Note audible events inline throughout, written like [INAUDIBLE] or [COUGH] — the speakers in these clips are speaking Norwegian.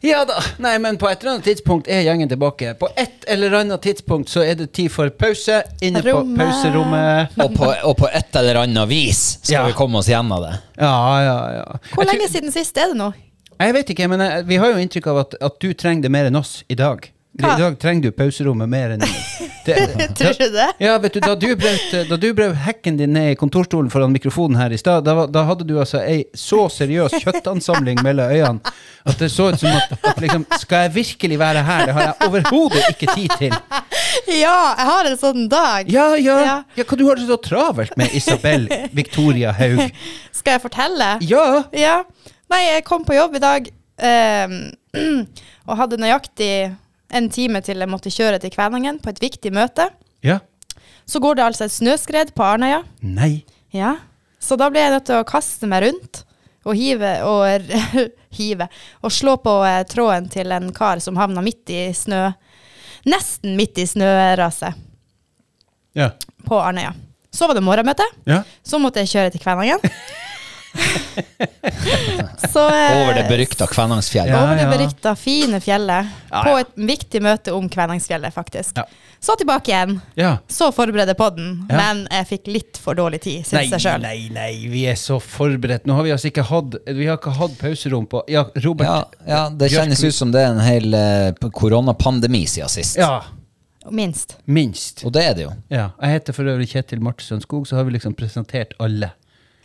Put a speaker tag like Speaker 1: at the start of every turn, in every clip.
Speaker 1: Ja da. Nei, men på et eller annet tidspunkt er gjengen tilbake. På et eller annet tidspunkt så er det tid for pause inne på
Speaker 2: Rommet.
Speaker 1: pauserommet.
Speaker 3: Og på, og på et eller annet vis skal
Speaker 1: Ja.
Speaker 3: vi komme oss gjennom det.
Speaker 1: Ja, ja, ja.
Speaker 2: Hvor
Speaker 1: Jeg tror-
Speaker 2: lenge siden sist er det nå?
Speaker 1: Jeg vet ikke, men jeg, vi har jo inntrykk av at, at du trenger det mer enn oss i dag. I
Speaker 2: Hva?
Speaker 1: dag trenger du pauserommet mer enn
Speaker 2: [LAUGHS]
Speaker 1: det.
Speaker 2: [LAUGHS] Tror du det?
Speaker 1: Ja, vet du, da du, brøt, da du brøt hekken din ned i kontorstolen foran mikrofonen her i stad, da, var- da hadde du altså ei så seriøs kjøttansamling mellom øynene at det så ut som at, at liksom, skal jeg virkelig være her? Det har jeg overhodet ikke tid til.
Speaker 2: Ja, jeg har en sånn dag.
Speaker 1: Ja, ja, ja.
Speaker 2: Ja.
Speaker 1: Hva du har det så travelt med, Isabel Victoria Haug?
Speaker 2: Skal jeg fortelle?
Speaker 1: Ja.
Speaker 2: Ja. Nei, jeg kom på jobb i dag eh, [CLEARS THROAT] og hadde nøyaktig en time til jeg måtte kjøre til Kvænangen på et viktig møte.
Speaker 1: Ja.
Speaker 2: Så går det altså et snøskred på Arnøya.
Speaker 1: Nei.
Speaker 2: Ja. Så da ble jeg nødt til å kaste meg rundt og hive og [LAUGHS] hive og slå på eh, tråden til en kar som havna midt i snø Nesten midt i snøraset
Speaker 1: Ja.
Speaker 2: på Arnøya. Så var det morgenmøte.
Speaker 1: Ja.
Speaker 2: Så måtte jeg kjøre til Kvænangen. Så, eh,
Speaker 3: Over det berykta Kvænangsfjell.
Speaker 1: Ja,
Speaker 2: over det
Speaker 1: ja.
Speaker 2: berykta fine fjellet.
Speaker 1: Ja,
Speaker 2: På
Speaker 1: ja.
Speaker 2: et viktig møte om Kvænangsfjellet, faktisk.
Speaker 1: Ja.
Speaker 2: Så tilbake igjen.
Speaker 1: ja.
Speaker 2: Så forberede podden,
Speaker 1: Ja.
Speaker 2: men jeg fikk litt for dårlig tid, syns jeg sjøl.
Speaker 1: Nei, nei, vi er så forberedt. Nå har vi altså ikke hatt Vi har ikke hatt pauserom på Ja, Robert.
Speaker 3: Ja, ja, det kjennes ut som det er en hel eh, p- koronapandemi siden sist.
Speaker 1: Ja,
Speaker 2: Minst.
Speaker 1: minst.
Speaker 3: Og det er det jo.
Speaker 1: Ja. Jeg heter for øvrig Kjetil Martensson Skog, så har vi liksom presentert alle.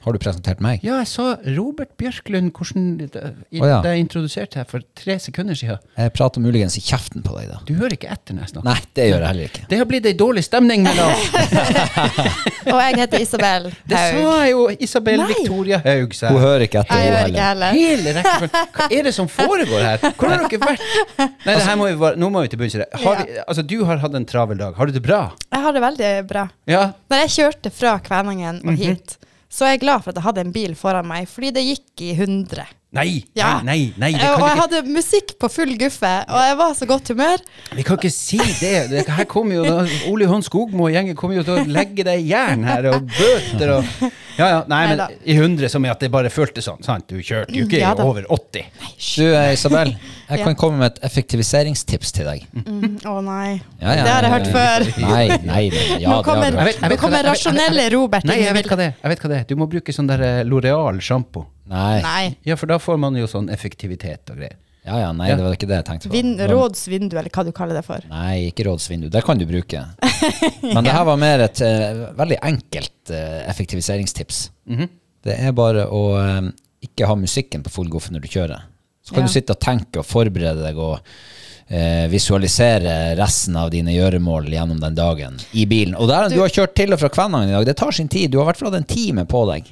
Speaker 3: Har du presentert meg?
Speaker 1: Ja, jeg sa Robert Bjørklund hvordan det, i,
Speaker 3: Å, ja.
Speaker 1: det jeg introduserte her for tre sekunder siden.
Speaker 3: Jeg prater muligens i kjeften på deg, da.
Speaker 1: Du hører ikke etter når jeg snakker.
Speaker 3: Nei, det gjør jeg heller ikke.
Speaker 1: Det har blitt ei dårlig stemning mellom oss.
Speaker 2: Og jeg heter Isabel
Speaker 1: [LAUGHS] Det
Speaker 2: Haug.
Speaker 1: sa jo Isabel
Speaker 2: Nei.
Speaker 1: Victoria Haug, sa
Speaker 3: Hun
Speaker 1: jeg.
Speaker 3: hører ikke etter,
Speaker 2: Jeg
Speaker 3: hun
Speaker 2: gjør ikke
Speaker 3: heller.
Speaker 2: heller.
Speaker 1: Hele rekkefølgen. Hva er det som foregår her? Hvor har dere vært? Nei, det her må vi bare, Nå må vi til bunns i det. Har vi, altså, du har hatt en travel dag. Har du det bra?
Speaker 2: Jeg har det veldig bra.
Speaker 1: Ja,
Speaker 2: Når jeg kjørte fra Kvænangen
Speaker 1: Mhm.
Speaker 2: og hit, så er jeg glad for at jeg hadde en bil foran meg, fordi det gikk i 100.
Speaker 1: Nei,
Speaker 2: Ja.
Speaker 1: nei, nei, nei vi,
Speaker 2: og
Speaker 1: kan
Speaker 2: jeg
Speaker 1: ikke,
Speaker 2: hadde musikk på full guffe, og jeg var så godt humør.
Speaker 1: vi kan ikke si det. det her kommer jo, da, Ole Johan Skogmo og gjengen kommer jo til å legge deg i jern her, og bøter og Ja, ja, nei, men
Speaker 2: Neida.
Speaker 1: i 100 som i at det bare føltes sånn. sant? Du kjørte jo ikke
Speaker 2: Ja da.
Speaker 1: over 80.
Speaker 3: Du, eh, Isabel, jeg
Speaker 2: Ja.
Speaker 3: kan komme med et effektiviseringstips til deg.
Speaker 2: Mm, Å nei.
Speaker 3: Ja, ja,
Speaker 2: det har jeg
Speaker 3: ja,
Speaker 2: hørt
Speaker 3: ja.
Speaker 2: før.
Speaker 3: Nei, nei, nei, ja, det
Speaker 2: nå
Speaker 3: har du
Speaker 2: kommer,
Speaker 3: hørt.
Speaker 1: vet- jeg vet
Speaker 2: nå
Speaker 1: hva det- jeg
Speaker 2: kommer
Speaker 1: vet- jeg vet-
Speaker 2: rasjonelle Robert
Speaker 1: Nei,
Speaker 2: inn i
Speaker 1: jeg vet hva
Speaker 2: bildet.
Speaker 1: det er. jeg vet hva det er. Du må bruke sånn der eh, Loreal-sjampo.
Speaker 3: Nei.
Speaker 2: Nei.
Speaker 1: Ja, for da får man jo sånn effektivitet og greier.
Speaker 3: Ja, ja, nei, det var ikke det jeg tenkte på.
Speaker 2: Vin,
Speaker 3: Det var-
Speaker 2: rådsvindu, eller hva du kaller det for.
Speaker 3: Nei, ikke rådsvindu. Det kan du bruke. Men det her var mer et eh, veldig enkelt eh, effektiviseringstips.
Speaker 1: Mhm.
Speaker 3: Det er bare å eh, ikke ha musikken på full guffe når du kjører. Så kan
Speaker 2: Ja.
Speaker 3: du sitte og tenke og forberede deg og eh, visualisere resten av dine gjøremål gjennom den dagen i bilen. Og der du, har kjørt til og fra Kvænangen i dag, det tar sin tid. Du har i hvert fall hatt en time på deg.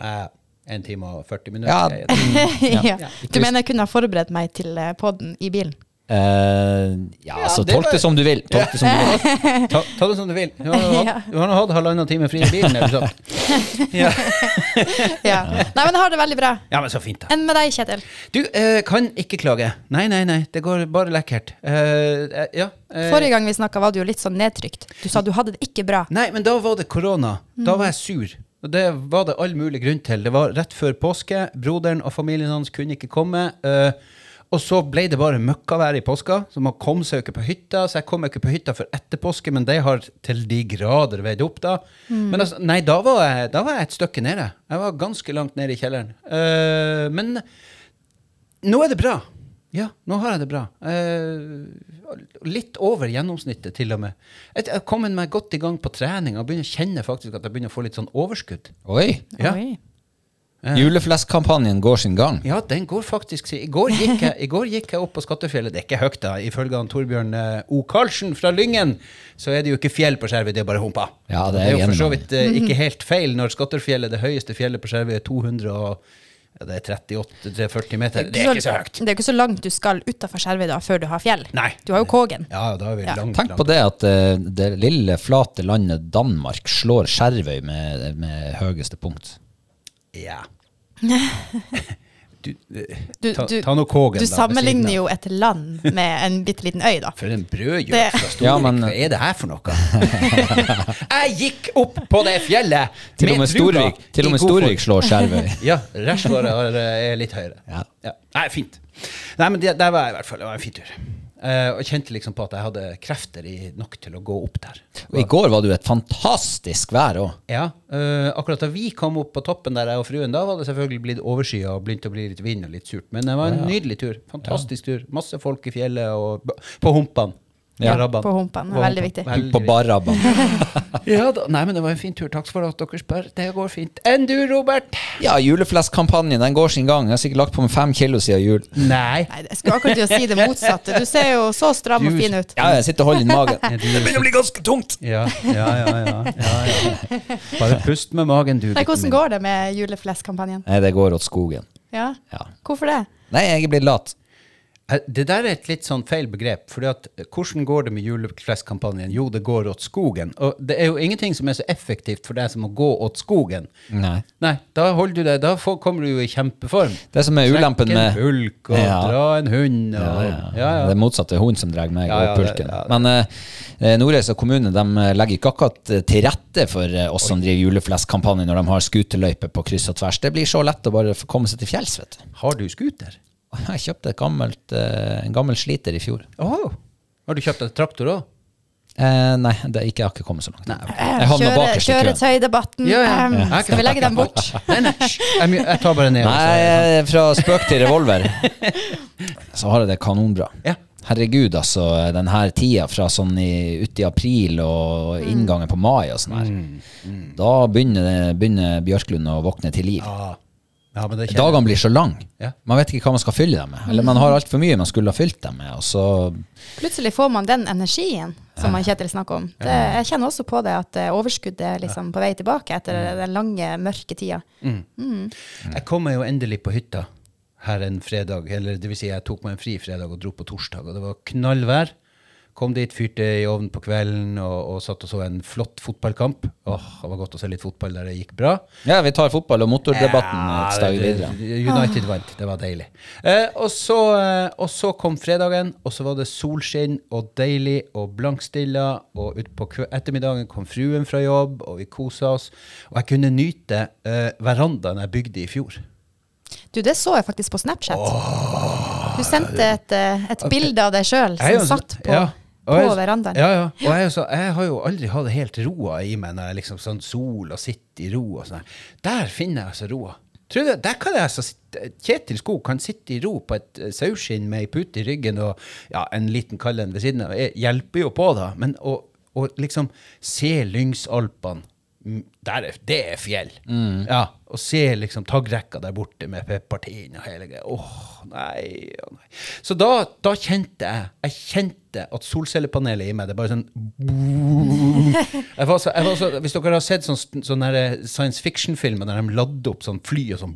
Speaker 1: Eh, en time og 40
Speaker 3: Ja.
Speaker 1: minutter.
Speaker 3: [LAUGHS]
Speaker 1: Ja.
Speaker 2: [LAUGHS] Ja.
Speaker 3: Ikke
Speaker 2: Du
Speaker 3: hvis-
Speaker 2: mener jeg kunne ha forberedt meg til eh, podden i bilen?
Speaker 3: Eh, ja, altså,
Speaker 1: det var-
Speaker 3: tolk det som du vil. Tolk det som du vil.
Speaker 1: Ta, ta det som du vil. Du har nå hatt, du har nå hatt halvannen time fri i bilen. Eller sånn. [LAUGHS] ja.
Speaker 2: Ja. Nei, men jeg har det veldig bra.
Speaker 1: ja, men så fint, da.
Speaker 2: Enn med deg, Kjetil?
Speaker 1: Du eh, kan ikke klage. Nei, nei, nei. Det går bare lekkert. Eh, eh, ja. eh,
Speaker 2: Forrige gang vi snakka, var du jo litt sånn nedtrykt. Du sa du hadde det ikke bra.
Speaker 1: Nei, men da var det korona. Da var jeg sur. Og det var det all mulig grunn til. Det var rett før påske. Broderen og familien hans kunne ikke komme. eh, og så ble det bare møkkavær i påska, så man kom seg jo ikke på hytta. Så jeg kom jo ikke på hytta før etter påske, men det har til de grader veid opp da. Men altså, nei, da var, jeg, da var jeg et stykke nede. Jeg var ganske langt nede i kjelleren. Eh, men nå er det bra. Ja, nå har jeg det bra. Eh, litt over gjennomsnittet, til og med. Jeg jeg har kommet meg godt i gang på trening og begynner å kjenne faktisk at jeg begynner å få litt sånn overskudd.
Speaker 3: Oi!
Speaker 1: Ja.
Speaker 2: Oi.
Speaker 3: Julefleskkampanjen går sin gang.
Speaker 1: Ja, den går faktisk si- I går gikk jeg, i går gikk jeg opp på Skattefjellet. Det er ikke høyt, da. Ifølge han Torbjørn eh, O. Karlsen fra Lyngen, så er det jo ikke fjell på Skjervøy, det er bare humpa.
Speaker 3: Ja, det er
Speaker 1: jo
Speaker 3: jeg
Speaker 1: for
Speaker 3: enig
Speaker 1: så
Speaker 3: med.
Speaker 1: vidt eh, ikke helt feil når Skattefjellet, det høyeste fjellet på Skjervøy, er 200 og ja, det er 38-40 meter. Det er ikke så høyt.
Speaker 2: Det er jo ikke så langt du skal utafor Skjervøy da, før du har fjell.
Speaker 1: Nei.
Speaker 2: Du har jo Kågen.
Speaker 1: Ja, da er vi
Speaker 2: Ja,
Speaker 1: langt,
Speaker 3: Tenk på det at eh, det lille, flate landet Danmark slår Skjervøy med, med høyeste punkt.
Speaker 2: [LAUGHS]
Speaker 1: Ja. Du, eh,
Speaker 2: Du,
Speaker 1: ta,
Speaker 2: du-
Speaker 1: ta nå Kågen,
Speaker 2: Du
Speaker 1: da, ved siden
Speaker 2: sammenligner
Speaker 1: av.
Speaker 2: jo et land med en bitte liten øy,
Speaker 1: [LAUGHS]
Speaker 2: da.
Speaker 1: For en brødjul
Speaker 2: Det-
Speaker 1: fra Storvik.
Speaker 3: Ja, men-
Speaker 1: Hva er det her
Speaker 2: [LAUGHS]
Speaker 1: for noe? [LAUGHS] jeg gikk opp på det fjellet
Speaker 3: Til og med
Speaker 1: truga
Speaker 3: Storvik, til
Speaker 1: i
Speaker 3: og med
Speaker 1: god form.
Speaker 3: Storvik slår [LAUGHS] Skjervøy.
Speaker 1: Ja, restvaret har, eh, er litt høyere.
Speaker 3: [LAUGHS] Ja.
Speaker 1: Nei, fint. Nei, men det, der var jeg i hvert fall. Det var en fin tur. Eh, og kjente liksom på at jeg hadde krefter i, nok til å gå opp der.
Speaker 3: Og i går var det jo et fantastisk vær òg.
Speaker 1: Ja, eh, akkurat da vi kom opp på toppen der, jeg og fruen, da var det selvfølgelig blitt overskya og begynt å bli litt vind og litt surt. Men det var en nydelig tur. Fantastisk tur. Masse folk i fjellet og b- på humpene.
Speaker 3: Ja,
Speaker 1: rabbene.
Speaker 2: på humpene. Veldig viktig.
Speaker 1: Veldig
Speaker 3: På barrabbene.
Speaker 1: viktig. Ja, da. Nei, men det var en fin tur. Takk for at dere spør. Det går fint. Enn du, Robert?
Speaker 3: Ja, juleflestkampanjen den går sin gang. Jeg har sikkert lagt på meg fem kilo siden jul.
Speaker 1: Nei.
Speaker 2: Nei, jeg skulle akkurat til å si det motsatte. Du ser jo så stram og
Speaker 1: Du-
Speaker 2: fin ut.
Speaker 3: Ja, jeg sitter og holder inn magen.
Speaker 1: Er du-
Speaker 3: [LAUGHS] Det begynner å bli ganske tungt.
Speaker 1: Ja, ja, ja, ja, ja, ja.
Speaker 2: [LAUGHS]
Speaker 1: Bare pust med magen, du.
Speaker 2: Nei,
Speaker 1: gutten
Speaker 2: hvordan
Speaker 1: min.
Speaker 2: går det med juleflestkampanjen?
Speaker 3: Nei, det går åt skogen.
Speaker 2: Ja,
Speaker 3: Ja.
Speaker 2: hvorfor det?
Speaker 3: Nei, jeg er blitt lat.
Speaker 1: Eh, Det der er et litt sånn feil begrep. fordi at eh, Hvordan går det med juleflestkampanjen? Jo, det går åt skogen. Og det er jo ingenting som er så effektivt for deg som å gå åt skogen.
Speaker 3: Nei.
Speaker 1: Nei, da holder du deg, da får, kommer du jo i kjempeform.
Speaker 3: Det som er ulempen med
Speaker 1: Trekke en hulk og
Speaker 3: Ja.
Speaker 1: dra en hund. Og, ja, ja, ja.
Speaker 3: Det er motsatt. Det er hun som drar
Speaker 1: Ja,
Speaker 3: meg
Speaker 1: ja,
Speaker 3: og
Speaker 1: det-
Speaker 3: pulken.
Speaker 1: ja, det-
Speaker 3: Men eh, Nordreisa kommune de eh, legger ikke akkurat eh, til rette for eh, oss som driver juleflestkampanje når de har scooterløype på kryss og tvers. Det blir så lett å bare få komme seg til fjells, vet du. [LAUGHS]
Speaker 1: Har du scooter?
Speaker 3: Jeg kjøpte et gammelt, eh, en gammel sliter i fjor.
Speaker 1: Åh. Har du kjøpt deg traktor òg?
Speaker 3: Eh, nei, det, ikke, jeg har ikke kommet så langt.
Speaker 1: Nei, ok.
Speaker 3: Jeg havna bakerst i køen.
Speaker 2: Kjøretøydebatten. Ehm, Skal vi legge den bort?
Speaker 1: Nei, nei, hysj. jeg, my- jeg tar bare ned. og så-
Speaker 3: Nei, fra spøk til revolver sånn. [LAUGHS] Så har jeg det kanonbra
Speaker 1: Ja.
Speaker 3: Herregud, altså, den her tida fra sånn i, ut i april og inngangen på mai og sånn her
Speaker 1: Mm,
Speaker 3: Da begynner, det- begynner Bjørklund å våkne til liv
Speaker 1: Ja. Ja, men det kjenner jeg.
Speaker 3: Dagene blir så lang
Speaker 1: Ja.
Speaker 3: Man vet ikke hva man skal fylle dem med Eller man har alt for mye man skulle ha fylt dem med Og så,
Speaker 2: Plutselig får man den energien som han Kjetil snakker om. Det, jeg kjenner også på det at eh, overskuddet er liksom på vei tilbake
Speaker 1: Mm.
Speaker 2: etter den lange, mørke tida.
Speaker 1: Jeg kommer jo endelig på hytta her en fredag. Eller det vil si, jeg tok meg en fri fredag og dro på torsdag, og det var knallvær. Kom dit, fyrte i ovnen på kvelden og, og satt og så en flott fotballkamp. Åh, det var godt å se litt fotball der det gikk bra.
Speaker 3: ja, vi tar fotball og motordebatten et
Speaker 1: Ja,
Speaker 3: steg
Speaker 1: det-
Speaker 3: videre
Speaker 1: det- United vant, det var deilig. Eh, og, så, eh, og så kom fredagen, og så var det solskinn og deilig og blankstilla. Og utpå kve- ettermiddagen kom fruen fra jobb, og vi kosa oss. Og jeg kunne nyte eh, verandaen jeg bygde i fjor.
Speaker 2: Du, det så jeg faktisk på Snapchat. Du sendte et, eh, et bilde av deg sjøl
Speaker 1: Jeg er jo så-
Speaker 2: som satt på,
Speaker 1: ja. Og
Speaker 2: på
Speaker 1: jeg-
Speaker 2: verandaen.
Speaker 1: Ja, ja. Og jeg, er jo så, jeg har jo aldri hatt helt roa i meg når jeg liksom sånn sol og sitter i ro og sånn. Der finner jeg altså roa. Tror du, der kan jeg altså sitte, Kjetil Skog kan sitte i ro på et eh, saueskinn med ei pute i ryggen og ja, en liten kald en ved siden av. Det hjelper jo på, da. Men å, å liksom se Lyngsalpene mm, der er, Det er fjell. Ja, og se liksom taggrekka der borte med peppartin og hele greia. Åh, nei, å nei. Så da, da kjente jeg Jeg kjente at solcellepanelet i meg Det er bare sånn [LAUGHS] jeg var så, jeg var så, Hvis dere har sett sånn- sånne her science fiction-filmer der de ladde opp sånn fly og sånn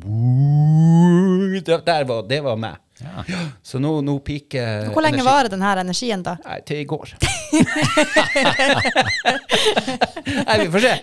Speaker 1: [LAUGHS] der, der var, Det var meg. Ja, [GASPS] Så nå, nå piker
Speaker 2: Hvor lenge
Speaker 1: energi-
Speaker 2: varer den her energien, da?
Speaker 1: Nei, til i går. [LAUGHS] Nei, vi får se.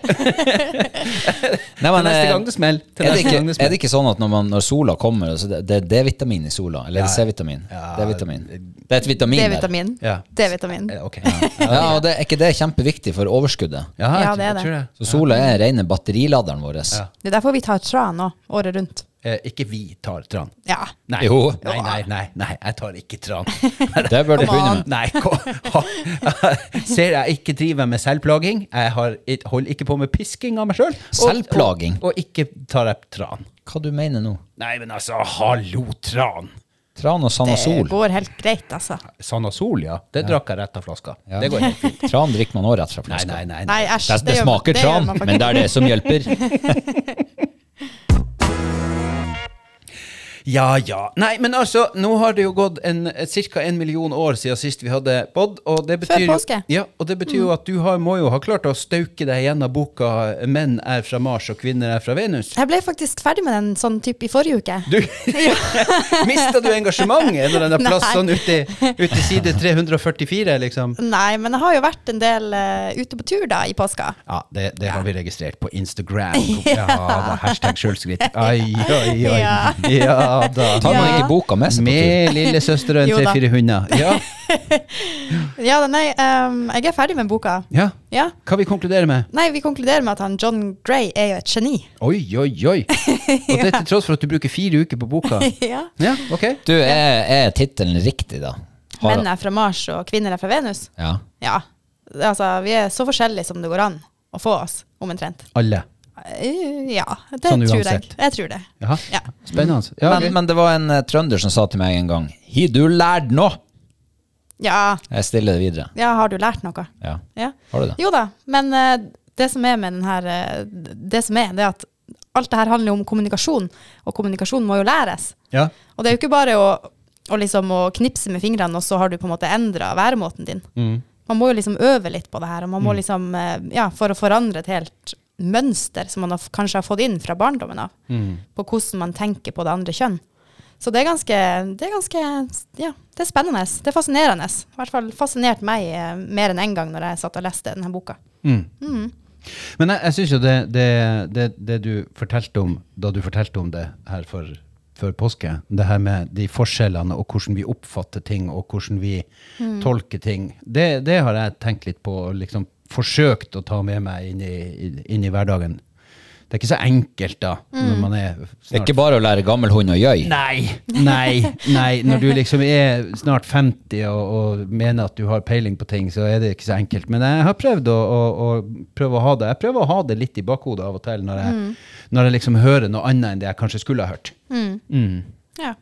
Speaker 3: Nei,
Speaker 1: Til
Speaker 3: men,
Speaker 1: neste
Speaker 3: eh,
Speaker 1: gang det smeller. Til
Speaker 3: Er det,
Speaker 1: neste
Speaker 3: ikke,
Speaker 1: gang det
Speaker 3: er
Speaker 1: smeller.
Speaker 3: det ikke sånn at når, man, når sola kommer, så det, det er D-vitamin i sola? Eller er
Speaker 1: Ja.
Speaker 3: det C-vitamin?
Speaker 1: Ja,
Speaker 3: D-vitamin. Det er et vitamin der.
Speaker 2: D-vitamin.
Speaker 1: Ja.
Speaker 2: D-vitamin.
Speaker 1: Eh, Ok.
Speaker 3: Ja, og det, er ikke det kjempeviktig for overskuddet?
Speaker 1: Ja,
Speaker 2: Ja,
Speaker 1: jeg
Speaker 2: det er
Speaker 1: tror-
Speaker 2: det.
Speaker 1: tror jeg.
Speaker 3: Så sola er rene batteriladeren vår.
Speaker 1: Ja.
Speaker 2: Det er derfor vi tar tran nå, året rundt.
Speaker 1: Eh, ikke vi tar tran.
Speaker 2: Ja.
Speaker 1: Nei.
Speaker 3: Jo.
Speaker 1: Nei, nei, nei, nei, jeg tar ikke tran.
Speaker 3: [LAUGHS] Det bør de
Speaker 2: Come
Speaker 3: begynne med.
Speaker 1: Nei, ko- ha- [LAUGHS] ser jeg ikke driver med selvplaging. Jeg har, it- holder ikke på med pisking av meg sjøl.
Speaker 3: Selvplaging?
Speaker 1: Og, og, og ikke tar jeg tran.
Speaker 3: Hva du mener nå?
Speaker 1: Nei, men altså, hallo, tran!
Speaker 3: Tran og sand og
Speaker 2: Det
Speaker 3: sol.
Speaker 2: går helt greit, altså.
Speaker 1: Sanasol, ja. Det drakk jeg rett av flaska. Det går helt fint.
Speaker 3: [LAUGHS] Tran drikker man òg rett fra
Speaker 1: Nei,
Speaker 3: flaska.
Speaker 1: nei, nei. nei.
Speaker 2: Nei, æsj.
Speaker 3: Det, det
Speaker 2: gjør man-
Speaker 3: smaker
Speaker 2: det gjør
Speaker 3: tran,
Speaker 2: man faktisk
Speaker 3: men det er det som hjelper.
Speaker 1: Ja, ja. Nei, men altså, nå har det jo gått ca. en million år siden sist vi hadde pod. Og det betyr, jo-
Speaker 2: påske. Mm.
Speaker 1: Ja, og det betyr jo at du har, må jo ha klart å stauke deg gjennom boka 'Menn er fra Mars og kvinner er fra Venus'.
Speaker 2: Jeg ble faktisk ferdig med den sånn type i forrige uke.
Speaker 1: Du, Mista du engasjementet en
Speaker 2: [LAUGHS]
Speaker 1: eller annen plass
Speaker 2: Nei.
Speaker 1: sånn ute ute i side 344, liksom?
Speaker 2: Nei, men det har jo vært en del eh, ute på tur da i påska.
Speaker 1: Ja, det, det har vi registrert på
Speaker 2: [LAUGHS]
Speaker 1: Instagram. Ja da, hashtag sjølskritt. Ai, ai, ai.
Speaker 2: Ja.
Speaker 1: Ja da.
Speaker 3: Tar man
Speaker 2: Ja.
Speaker 3: ikke boka med seg på tur?
Speaker 1: Med lillesøster og en
Speaker 2: Jo da.
Speaker 1: tre-fire hunder. Ja,
Speaker 2: Ja, da, nei, ehm, jeg er ferdig med boka.
Speaker 1: ja.
Speaker 2: Ja.
Speaker 1: Hva vi konkluderer med?
Speaker 2: Nei, vi konkluderer med at han John Gray er jo et geni.
Speaker 1: Oi, oi, oi. Og det til tross for at du bruker fire uker på boka.
Speaker 2: [LAUGHS] ja.
Speaker 1: Ja, ok.
Speaker 3: Du, er, er tittelen riktig, da? Har-
Speaker 2: Menn er fra Mars, og kvinner er fra Venus.
Speaker 3: Ja.
Speaker 2: Ja. Altså, vi er så forskjellige som det går an å få oss, omtrent.
Speaker 1: Alle.
Speaker 2: Eh, Ja, det
Speaker 1: Sånn
Speaker 2: tror jeg.
Speaker 1: uansett.
Speaker 2: Jeg tror det.
Speaker 1: Jaha.
Speaker 2: Ja.
Speaker 1: Spennende. Ja,
Speaker 3: men,
Speaker 1: ok.
Speaker 3: men det var en eh, trønder som sa til meg en gang Har du lært noe?
Speaker 2: Ja,
Speaker 3: Jeg stiller det videre.
Speaker 2: ja har du lært noe?
Speaker 3: Ja.
Speaker 2: Ja.
Speaker 3: Har du det?
Speaker 2: Jo da, men eh, det som er med den her eh, Det som er, det er at alt det her handler jo om kommunikasjon, og kommunikasjon må jo læres.
Speaker 1: ja.
Speaker 2: Og det er jo ikke bare å, å, liksom, å knipse med fingrene, og så har du på en måte endra væremåten din.
Speaker 1: Mm.
Speaker 2: Man må jo liksom øve litt på det her, og man må liksom, eh, ja, for å forandre et helt mønster som man har, f- kanskje har fått inn fra barndommen av,
Speaker 1: Mm.
Speaker 2: på hvordan man tenker på det andre kjønn. Så det er ganske, det er ganske ja, det er spennende. Det er fascinerende. I hvert fall fascinert meg eh, mer enn én en gang når jeg satt og leste denne boka.
Speaker 1: Mm. Men jeg, jeg syns jo det, det, det, det du fortalte om da du fortalte om det her for, før påske, det her med de forskjellene og hvordan vi oppfatter ting og hvordan vi tolker ting, det, det har jeg tenkt litt på og liksom forsøkt å ta med meg inn i, inn i hverdagen. Det er ikke så enkelt da, når man er
Speaker 3: Det er
Speaker 1: snart
Speaker 3: ikke bare å lære gammel hund å gjøy.
Speaker 1: Nei, nei, nei. Når
Speaker 2: [LAUGHS]
Speaker 1: du liksom er snart 50 og, og mener at du har peiling på ting, så er det ikke så enkelt. Men jeg har prøvd å, å, å prøve å ha det. Jeg prøver å ha det litt i bakhodet av og til når jeg,
Speaker 2: Mm.
Speaker 1: når jeg liksom hører noe annet enn det jeg kanskje skulle ha hørt. Mm.
Speaker 2: Ja.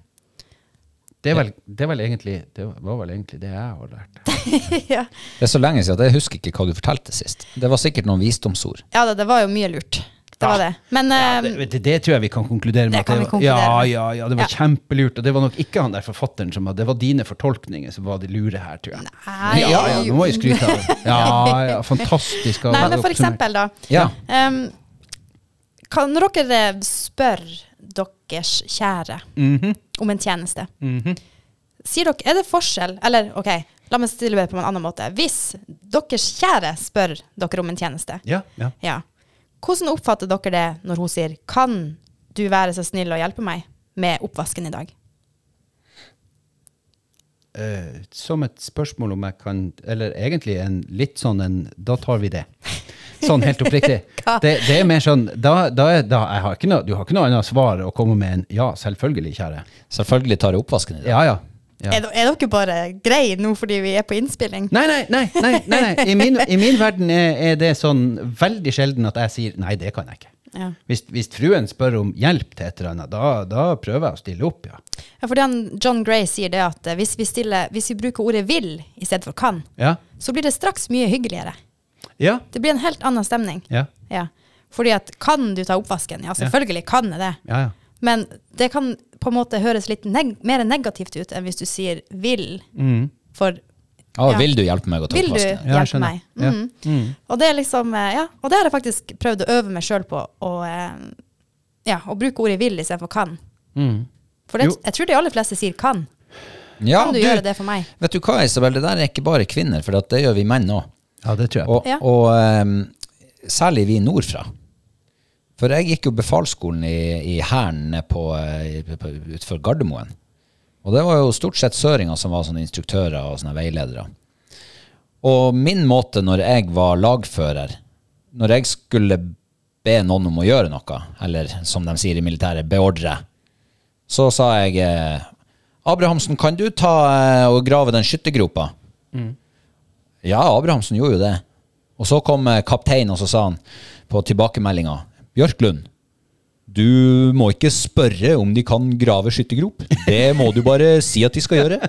Speaker 1: Det, er vel, det, er vel egentlig, det var vel egentlig det jeg har lært.
Speaker 2: ja.
Speaker 3: Det er så lenge siden at jeg husker ikke hva du fortalte sist. Det var sikkert noen visdomsord.
Speaker 2: ja da, det var jo mye lurt. Det var det. Men
Speaker 1: Ja,
Speaker 2: eh,
Speaker 1: det, det, det tror jeg vi kan konkludere med.
Speaker 2: Det
Speaker 1: at
Speaker 2: kan vi
Speaker 1: var-
Speaker 2: konkludere
Speaker 1: ja,
Speaker 2: med.
Speaker 1: ja, ja, det var
Speaker 2: Ja.
Speaker 1: kjempelurt. Og det var nok ikke han der forfatteren som var Det var dine fortolkninger som var de lure her, tror jeg.
Speaker 2: Nei.
Speaker 1: Ja, ja, nå må jeg skryte av det. Ja,
Speaker 2: [LAUGHS]
Speaker 1: ja, fantastisk. å
Speaker 2: Nei,
Speaker 1: være
Speaker 2: men
Speaker 1: oppsummert.
Speaker 2: for eksempel, da.
Speaker 3: Ja.
Speaker 2: Ehm, kan, når dere spør deres kjære om en tjeneste, sier dere, er det forskjell Eller ok, la meg stille det på en annen måte. Hvis deres kjære spør dere om en tjeneste,
Speaker 1: Ja, ja.
Speaker 2: ja. hvordan oppfatter dere det når hun sier 'Kan du være så snill å hjelpe meg med oppvasken i dag'?
Speaker 1: Eh, som et spørsmål om jeg kan Eller egentlig en litt sånn en Da tar vi det. Sånn helt oppriktig.
Speaker 2: [LAUGHS] Hva?
Speaker 1: Det, det er mer sånn da, da, er- da, jeg har ikke noe, Du har ikke noe annet svar å komme med enn ja, selvfølgelig, kjære.
Speaker 3: Selvfølgelig tar jeg oppvasken i dag.
Speaker 1: Ja, ja. ja.
Speaker 2: Er, de- er dere bare greie nå fordi vi er på innspilling?
Speaker 1: Nei, nei, nei. nei, nei, nei. I, min, I min verden er, er det sånn veldig sjelden at jeg sier nei, det kan jeg ikke.
Speaker 2: Ja.
Speaker 1: Hvis, hvis fruen spør om hjelp til et eller annet, da, da prøver jeg å stille opp, ja.
Speaker 2: Ja, fordi han, John Gray sier det at eh, hvis vi, stiller, hvis vi bruker ordet 'vil' i stedet for 'kan',
Speaker 1: Ja.
Speaker 2: så blir det straks mye hyggeligere.
Speaker 1: Ja.
Speaker 2: Det blir en helt annen stemning.
Speaker 1: Ja.
Speaker 2: Ja. Fordi at kan du ta oppvasken? Ja, selvfølgelig kan jeg det.
Speaker 1: ja, ja.
Speaker 2: Men det kan på en måte høres litt neg mer negativt ut enn hvis du sier vil. For
Speaker 3: Ah,
Speaker 2: Ja.
Speaker 3: vil du hjelpe meg å ta
Speaker 2: vil du
Speaker 3: oppvasken?
Speaker 1: Mm. Ja, jeg
Speaker 2: hjelpe
Speaker 1: skjønner.
Speaker 2: meg?
Speaker 1: Ja. Mm.
Speaker 2: Mhm. Og det er liksom eh, Ja, og det har jeg faktisk prøvd å øve meg sjøl på. Å eh, ja, å bruke ordet vil istedenfor kan.
Speaker 1: Mm.
Speaker 2: For det,
Speaker 1: Jo.
Speaker 2: jeg tror de aller fleste sier kan.
Speaker 3: Ja,
Speaker 2: Kan du, gjøre det for meg?
Speaker 3: Vet du hva, Isabel, det der er ikke bare kvinner, for at det gjør vi menn òg.
Speaker 1: ja, det tror jeg.
Speaker 3: Og,
Speaker 2: Ja.
Speaker 3: og ehm, særlig vi nordfra. For jeg gikk jo befalsskolen i, i Hæren ned på, eh, på- på- utenfor Gardermoen. Og det var jo stort sett søringer som var sånne instruktører og sånne veiledere. Og min måte når jeg var lagfører, når jeg skulle be noen om å gjøre noe, eller som de sier i militæret, beordre, så sa jeg eh, Abrahamsen, kan du ta eh, og grave den skyttergropa? Ja, Abrahamsen gjorde jo det. Og så kom eh, kapteinen, og så sa han på tilbakemeldinga Bjørklund, du må ikke spørre om de kan [LAUGHS] grave skyttergrop. Det må du bare si at de skal gjøre.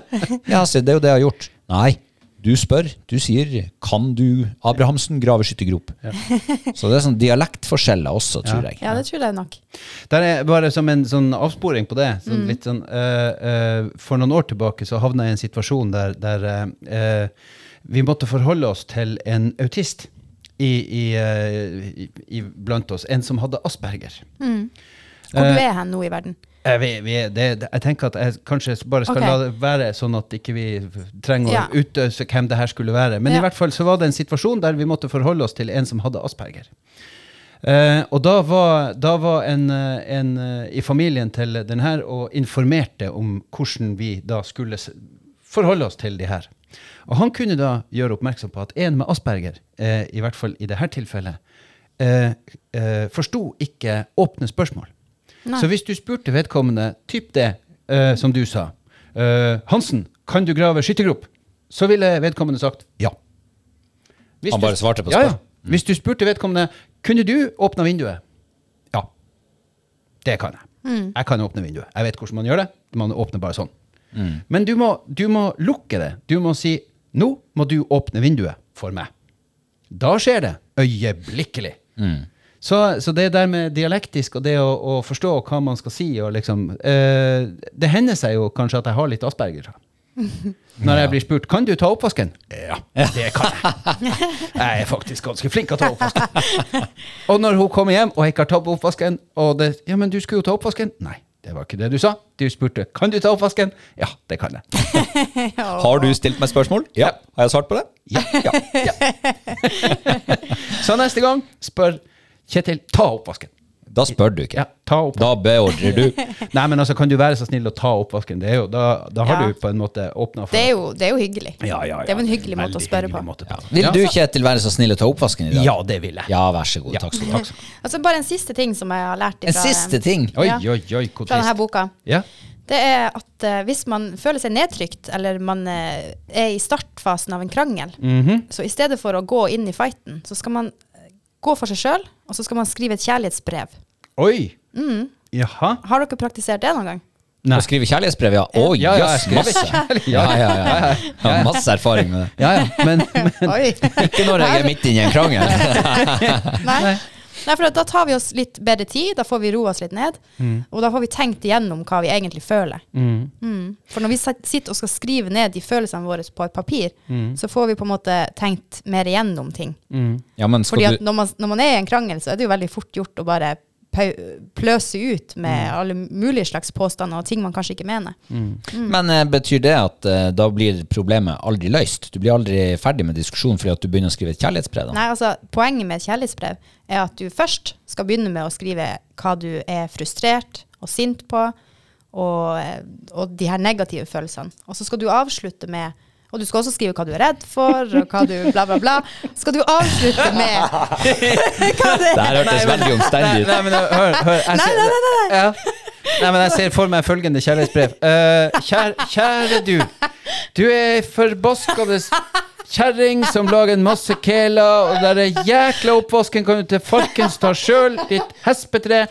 Speaker 3: Ja, så det er jo det jeg har gjort. Nei, Du spør, du sier 'Kan du Abrahamsen grave skyttergrop?' Så det er sånn dialektforskjeller også, tror jeg.
Speaker 2: Ja, det tror jeg nok.
Speaker 1: Der er bare som en sånn avsporing på det. Sånn, litt sånn, eh, eh, for noen år tilbake så havna jeg i en situasjon der, der eh, eh, vi måtte forholde oss til en autist i, i, eh, i, i blant oss. En som hadde asperger.
Speaker 2: Mm. Hvor du er hen nå i verden?
Speaker 1: Eh, vi, vi, er- det, det, jeg tenker at jeg kanskje bare skal
Speaker 2: Ok.
Speaker 1: la det være, sånn at ikke vi trenger
Speaker 2: Ja.
Speaker 1: å utøse hvem det her skulle være. Men
Speaker 2: Ja.
Speaker 1: i hvert fall så var det en situasjon der vi måtte forholde oss til en som hadde asperger. Eh, og da var, da var en, eh, en eh, i familien til den her og informerte om hvordan vi da skulle s- forholde oss til de her. Og han kunne da gjøre oppmerksom på at en med asperger, eh, i hvert fall i dette tilfellet, eh, eh, forsto ikke åpne spørsmål.
Speaker 2: Nei.
Speaker 1: Så hvis du spurte vedkommende typ det, eh, som du sa, eh, Hansen, kan du grave skyttergrop? Så ville vedkommende sagt ja. Hvis
Speaker 3: Han
Speaker 1: du-
Speaker 3: bare svarte på
Speaker 1: ja, ja.
Speaker 3: spørsmål. Mm.
Speaker 1: Hvis du spurte vedkommende kunne du åpne vinduet, ja, det kan jeg. Jeg kan åpne vinduet. Jeg vet hvordan man gjør det. Man åpner bare sånn.
Speaker 3: Mm.
Speaker 1: Men du må, du må lukke det. Du må si nå må du åpne vinduet for meg. Da skjer det øyeblikkelig.
Speaker 3: Mm.
Speaker 1: Så, så det der med dialektisk og det å, å forstå hva man skal si og liksom eh, Det hender seg jo kanskje at jeg har litt asperger. Når jeg blir spurt kan du ta oppvasken, ja, det kan jeg. Jeg er faktisk ganske flink til å ta oppvasken. [LAUGHS] Og når hun kommer hjem og jeg ikke har tatt oppvasken, og det Ja, men du skulle jo ta oppvasken. Nei, det var ikke det du sa. Du spurte kan du ta oppvasken. Ja, det kan jeg.
Speaker 3: Har du stilt meg spørsmål? Ja. Har jeg svart på det? Ja.
Speaker 1: Så neste gang spør Kjetil ta oppvasken.
Speaker 3: Da spør du ikke.
Speaker 1: Ja, ta opp.
Speaker 3: Da beordrer
Speaker 1: [LAUGHS]
Speaker 3: du.
Speaker 1: Nei, men altså, kan du være så snill å ta oppvasken? Det er jo, da, da har
Speaker 2: Ja.
Speaker 1: du på en måte åpna for
Speaker 2: Det er jo, det er jo hyggelig.
Speaker 1: ja, ja, ja,
Speaker 2: Det er jo en hyggelig måte å
Speaker 1: veldig
Speaker 2: spørre
Speaker 1: hyggelig
Speaker 2: på.
Speaker 1: måte å ta.
Speaker 3: Vil du, Kjetil, være så snill å ta oppvasken i dag?
Speaker 1: Ja, det vil jeg.
Speaker 3: Ja, vær så god. Takk skal du ha.
Speaker 2: Altså Bare en siste ting som jeg har lært
Speaker 3: En
Speaker 2: ifra,
Speaker 3: siste ting.
Speaker 1: Oi,
Speaker 2: Ja.
Speaker 1: oi, oi, hvor
Speaker 2: fra denne
Speaker 1: trist.
Speaker 2: boka.
Speaker 1: Ja.
Speaker 2: Det er at eh, hvis man føler seg nedtrykt, eller man eh, er i startfasen av en krangel,
Speaker 3: Mhm.
Speaker 2: så i stedet for å gå inn i fighten, så skal man eh, gå for seg sjøl, og så skal man skrive et kjærlighetsbrev.
Speaker 1: Oi!
Speaker 2: Mm.
Speaker 1: Jaha.
Speaker 2: Har dere praktisert det noen gang?
Speaker 1: Nei.
Speaker 3: Å skrive kjærlighetsbrev, ja. Å,
Speaker 1: Ja, ja,
Speaker 3: jøss,
Speaker 1: jeg
Speaker 3: masse.
Speaker 1: skriver kjærlighet.
Speaker 3: Ja, ja, ja. Jeg har masse erfaring med det.
Speaker 1: Ja, ja, [LAUGHS] men,
Speaker 3: [LAUGHS]
Speaker 1: men
Speaker 2: Oi!
Speaker 3: Ikke når jeg er midt inne i en krangel.
Speaker 2: Nei. Nei, for da tar vi oss litt bedre tid, da får vi roa oss litt ned, og da får vi tenkt igjennom hva vi egentlig føler. Mm. For når vi sit- sitter og skal skrive ned de følelsene våre på et papir, så får vi på en måte tenkt mer igjennom ting.
Speaker 3: Ja, men
Speaker 2: Fordi at
Speaker 3: skal du,
Speaker 2: når man, når man er i en krangel, så er det jo veldig fort gjort å bare pau- pløse ut med alle mulige slags påstander og ting man kanskje ikke mener. mm.
Speaker 3: men eh, betyr det at eh, da blir problemet aldri løst? Du blir aldri ferdig med diskusjonen fordi at du begynner å skrive et kjærlighetsbrev? da?
Speaker 2: Nei, altså, Poenget med et kjærlighetsbrev er at du først skal begynne med å skrive hva du er frustrert og sint på, og, og de her negative følelsene. Og så skal du avslutte med og du skal også skrive hva du er redd for, og hva du bla, bla, bla. Skal du avslutte med hva det
Speaker 3: Det her hørtes veldig omstendig ut.
Speaker 1: Nei, men hør, hør jeg
Speaker 2: Nei,
Speaker 1: ser-
Speaker 2: nei, nei, nei.
Speaker 1: Ja. Nei, men jeg ser for meg følgende kjærlighetsbrev. Eh, kjære, kjære du. Du er ei forbaskende kjerring som lager en masse kæler, og den der jækla oppvasken kan du til farkens ta sjøl, ditt hespetre.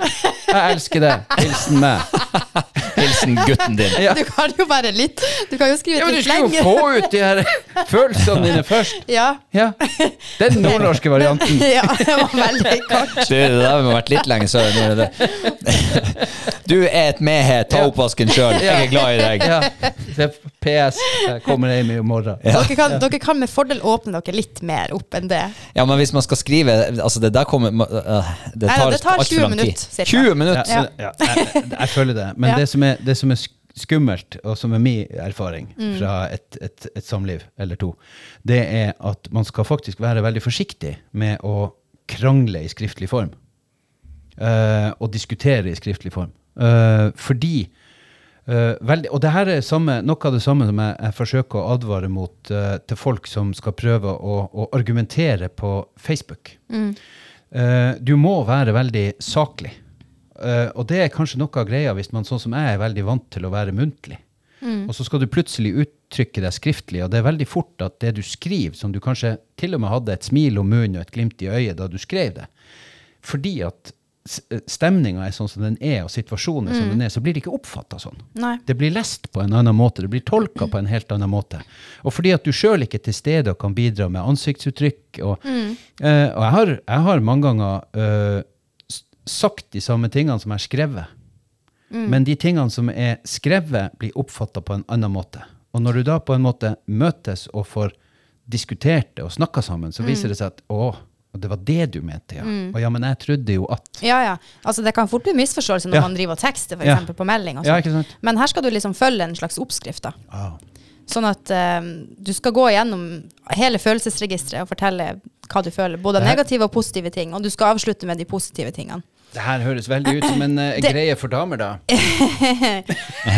Speaker 1: Jeg elsker deg. Hilsen meg.
Speaker 3: Hilsen gutten din.
Speaker 1: [LAUGHS] Ja.
Speaker 2: Du kan jo bare litt Du kan jo skrive
Speaker 1: Ja, men
Speaker 2: et
Speaker 1: du
Speaker 2: litt
Speaker 1: skulle jo
Speaker 2: lenger.
Speaker 1: få ut de her følelsene dine først.
Speaker 2: Ja.
Speaker 1: Ja. Den [LAUGHS] nordnorske varianten.
Speaker 2: ja, det var veldig
Speaker 1: [LAUGHS]
Speaker 3: [LAUGHS]
Speaker 2: kort.
Speaker 3: Du, det der må ha vært litt lenge sør. nå er det- [LAUGHS] Du er et mehe, ta oppvasken sjøl. Jeg er glad i deg.
Speaker 1: Ja. Det er PS. Jeg kommer hjem i morgen.
Speaker 2: Dere, kan, dere kan med fordel åpne dere litt mer opp enn det.
Speaker 3: Ja, men hvis man skal skrive Altså, det der kommer ma- øh, Det
Speaker 2: Nei,
Speaker 3: tar,
Speaker 2: det tar
Speaker 3: alt for
Speaker 2: 20
Speaker 3: lang tid.
Speaker 2: minutt, cirka.
Speaker 3: 20 minutter?
Speaker 1: Ja, så- ja, jeg, jeg føler det. Men
Speaker 2: Ja.
Speaker 1: det, som er, det som er sk- skummelt, og som er min erfaring fra et, et, et samliv eller to, det er at man skal faktisk være veldig forsiktig med å krangle i skriftlig form. eh, og diskutere i skriftlig form. Eh, fordi eh, veldig, Og det her er samme, noe av det samme som jeg, jeg forsøker å advare mot eh, til folk som skal prøve å, å argumentere på Facebook. Eh, du må være veldig saklig. Eh, og det er kanskje noe av greia hvis man sånn som jeg er veldig vant til å være muntlig. Og så skal du plutselig uttrykke deg skriftlig, og det er veldig fort at det du skriver, som du kanskje til og med hadde et smil om munnen og et glimt i øyet da du skrev det, fordi at stemninga er sånn som den er, og situasjonen er som den er, så blir det ikke oppfatta sånn.
Speaker 2: Nei.
Speaker 1: Det blir lest på en annen måte, det blir tolka på en helt annen måte. Og fordi at du sjøl ikke er til stede og kan bidra med ansiktsuttrykk og, eh, og jeg, har, jeg har mange ganger eh, s- sagt de samme tingene som jeg har skrevet. Men de tingene som er skrevet, blir oppfatta på en annen måte. Og når du da på en måte møtes og får diskutert det og snakka sammen, så viser det seg at å, det var det du mente, ja. Og ja, men jeg trodde jo at
Speaker 2: Ja, ja. Altså, det kan fort bli misforståelse når
Speaker 1: Ja.
Speaker 2: man driver og tekster,
Speaker 1: Ja.
Speaker 2: f.eks. på melding. Og sånn.
Speaker 1: Ja,
Speaker 2: sånt.
Speaker 1: ikke sant?
Speaker 2: Men her skal du liksom følge en slags oppskrift. da.
Speaker 1: Ah.
Speaker 2: Sånn at eh, du skal gå gjennom hele følelsesregisteret og fortelle hva du føler. Både
Speaker 1: Det her-
Speaker 2: negative og positive ting. Og du skal avslutte med de positive tingene.
Speaker 1: Det her høres veldig ut som en eh,
Speaker 2: Det-
Speaker 1: greie for damer, da.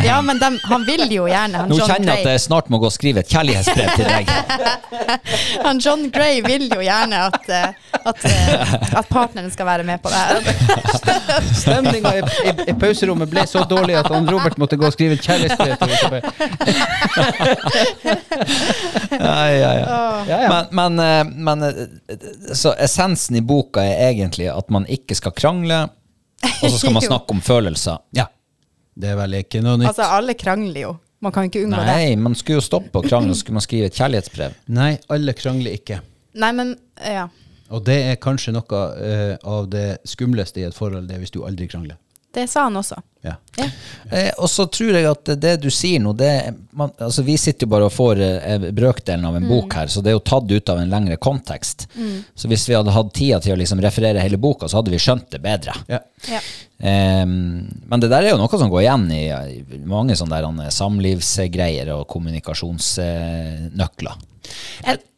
Speaker 2: Ja, men dem, han vil jo gjerne. Han
Speaker 3: Nå
Speaker 2: John
Speaker 3: kjenner jeg at
Speaker 2: Gray.
Speaker 3: jeg snart må gå og skrive et kjærlighetsbrev til
Speaker 2: [LAUGHS]
Speaker 3: deg.
Speaker 2: Han John Gray vil jo gjerne at, eh, at, eh, at partneren skal være med på det her.
Speaker 1: Stemninga i, i, i pauserommet ble så dårlig at han Robert måtte gå og skrive et kjærlighetsbrev til Elisabeth.
Speaker 3: Ja, ja, ja.
Speaker 1: Ja, ja.
Speaker 3: Men, men, eh, men eh, Så essensen i boka er egentlig at man ikke skal krangle, og så
Speaker 2: [LAUGHS]
Speaker 3: skal man
Speaker 2: Jo.
Speaker 3: snakke om følelser.
Speaker 1: ja. Det er vel ikke noe nytt.
Speaker 2: Altså, alle krangler jo. Man kan ikke unngå det.
Speaker 3: Nei, man skulle jo stoppe å krangle, og så skulle man skrive et kjærlighetsbrev.
Speaker 1: Nei, alle krangler ikke.
Speaker 2: Nei, men eh, ja.
Speaker 1: Og det er kanskje noe eh, av det skumleste i et forhold, det er hvis du aldri krangler.
Speaker 2: Det sa han også.
Speaker 1: Ja.
Speaker 2: Ja.
Speaker 3: Eh, og så tror jeg at det du sier nå det, er- man, altså Vi sitter jo bare og får eh, brøkdelen av en bok her, så det er jo tatt ut av en lengre kontekst. Så hvis vi hadde hatt tida til å liksom referere hele boka, så hadde vi skjønt det bedre.
Speaker 1: Ja.
Speaker 2: Ja.
Speaker 3: Eh, men det der er jo noe som går igjen i, i mange sånne der, eh, samlivsgreier og kommunikasjonsnøkler.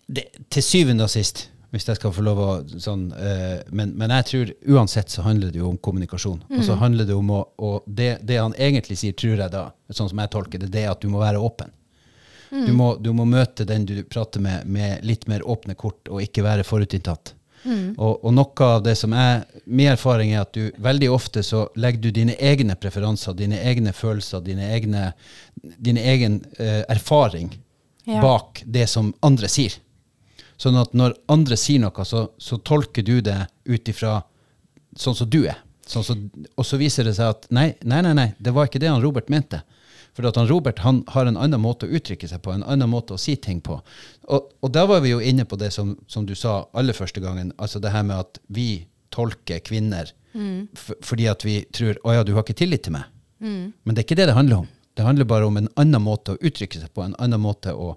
Speaker 1: Det, til syvende og sist, hvis jeg skal få lov å sånn eh, men, men jeg tror uansett så handler det jo om kommunikasjon. Og så handler det om å Og det, det han egentlig sier, tror jeg da, sånn som jeg tolker det, det er at du må være åpen. Du, må, du må møte den du prater med, med litt mer åpne kort, og ikke være forutinntatt.
Speaker 2: Mm,
Speaker 1: Og, og noe av det som er min erfaring, er at du veldig ofte så legger du dine egne preferanser, dine egne følelser, dine egne, din egen eh, erfaring
Speaker 2: Ja.
Speaker 1: bak det som andre sier. Sånn at når andre sier noe, så, så tolker du det ut ifra sånn som du er. Sånn som, og så viser det seg at nei, nei, nei, nei, det var ikke det han Robert mente. For at han Robert han har en annen måte å uttrykke seg på, en annen måte å si ting på. Og, og da var vi jo inne på det som, som du sa aller første gangen, altså det her med at vi tolker kvinner f fordi at vi tror å ja, du har ikke tillit til meg. Men det er ikke det det handler om. Det handler bare om en annen måte å uttrykke seg på, en annen måte å,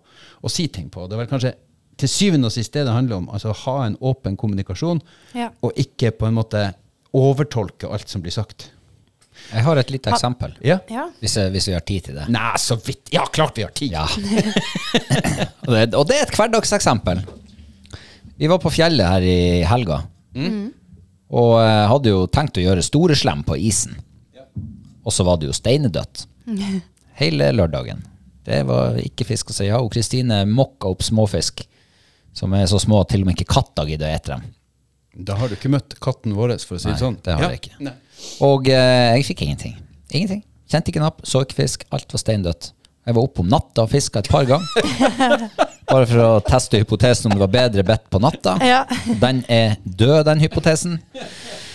Speaker 1: å si ting på. Det er vel kanskje til syvende og sist det det handler om. Altså ha en åpen kommunikasjon,
Speaker 2: Ja.
Speaker 1: og ikke på en måte overtolke alt som blir sagt.
Speaker 3: Jeg har et lite eksempel,
Speaker 1: Ja?
Speaker 2: ja.
Speaker 3: hvis, jeg, hvis vi har tid til det.
Speaker 1: Nei, så vidt. Ja, klart vi har tid!
Speaker 3: Ja. [LAUGHS] og, det, og det er et hverdagseksempel. Vi var på fjellet her i helga. Og eh, hadde jo tenkt å gjøre store slem på isen. Og så var det jo steinedødt. Hele lørdagen. Det var ikke fisk å si. Ja, og Kristine mokka opp småfisk. Som er så små at til og med ikke katta gidder å ete dem.
Speaker 1: Da har du ikke møtt katten vår, for å si
Speaker 3: Nei,
Speaker 1: det sånn.
Speaker 3: det har
Speaker 1: ja.
Speaker 3: jeg ikke.
Speaker 1: Nei.
Speaker 3: Og eh, jeg fikk ingenting. Ingenting. Kjente ikke napp, så ikke fisk. Alt var steindødt. Jeg var oppe om natta og fiska et par ganger. Bare for å teste hypotesen om det var bedre bedt på natta.
Speaker 2: Ja.
Speaker 3: Den er død, den hypotesen.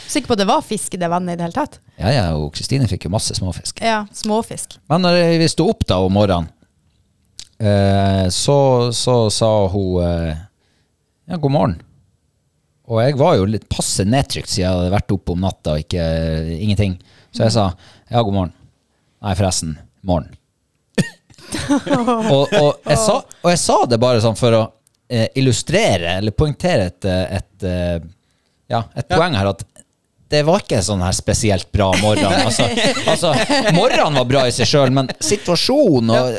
Speaker 2: Sikker på at det var fisk i det vannet i det hele tatt?
Speaker 3: Ja, ja, og Kristine fikk jo masse småfisk.
Speaker 2: Ja, småfisk.
Speaker 3: Men når vi sto opp da om morgenen, eh, så, så sa hun eh, ja, god morgen. Og jeg var jo litt passe nedtrykt siden jeg hadde vært oppe om natta og ikke, ingenting. Så jeg sa ja, god morgen. Nei, forresten, morgen. og, og, jeg sa, og jeg sa det bare sånn for å eh, illustrere eller poengtere et, eh, et, eh, ja, et poeng her at det var ikke en sånn her spesielt bra morgen. Altså, altså morgenen var bra i seg sjøl, men situasjonen og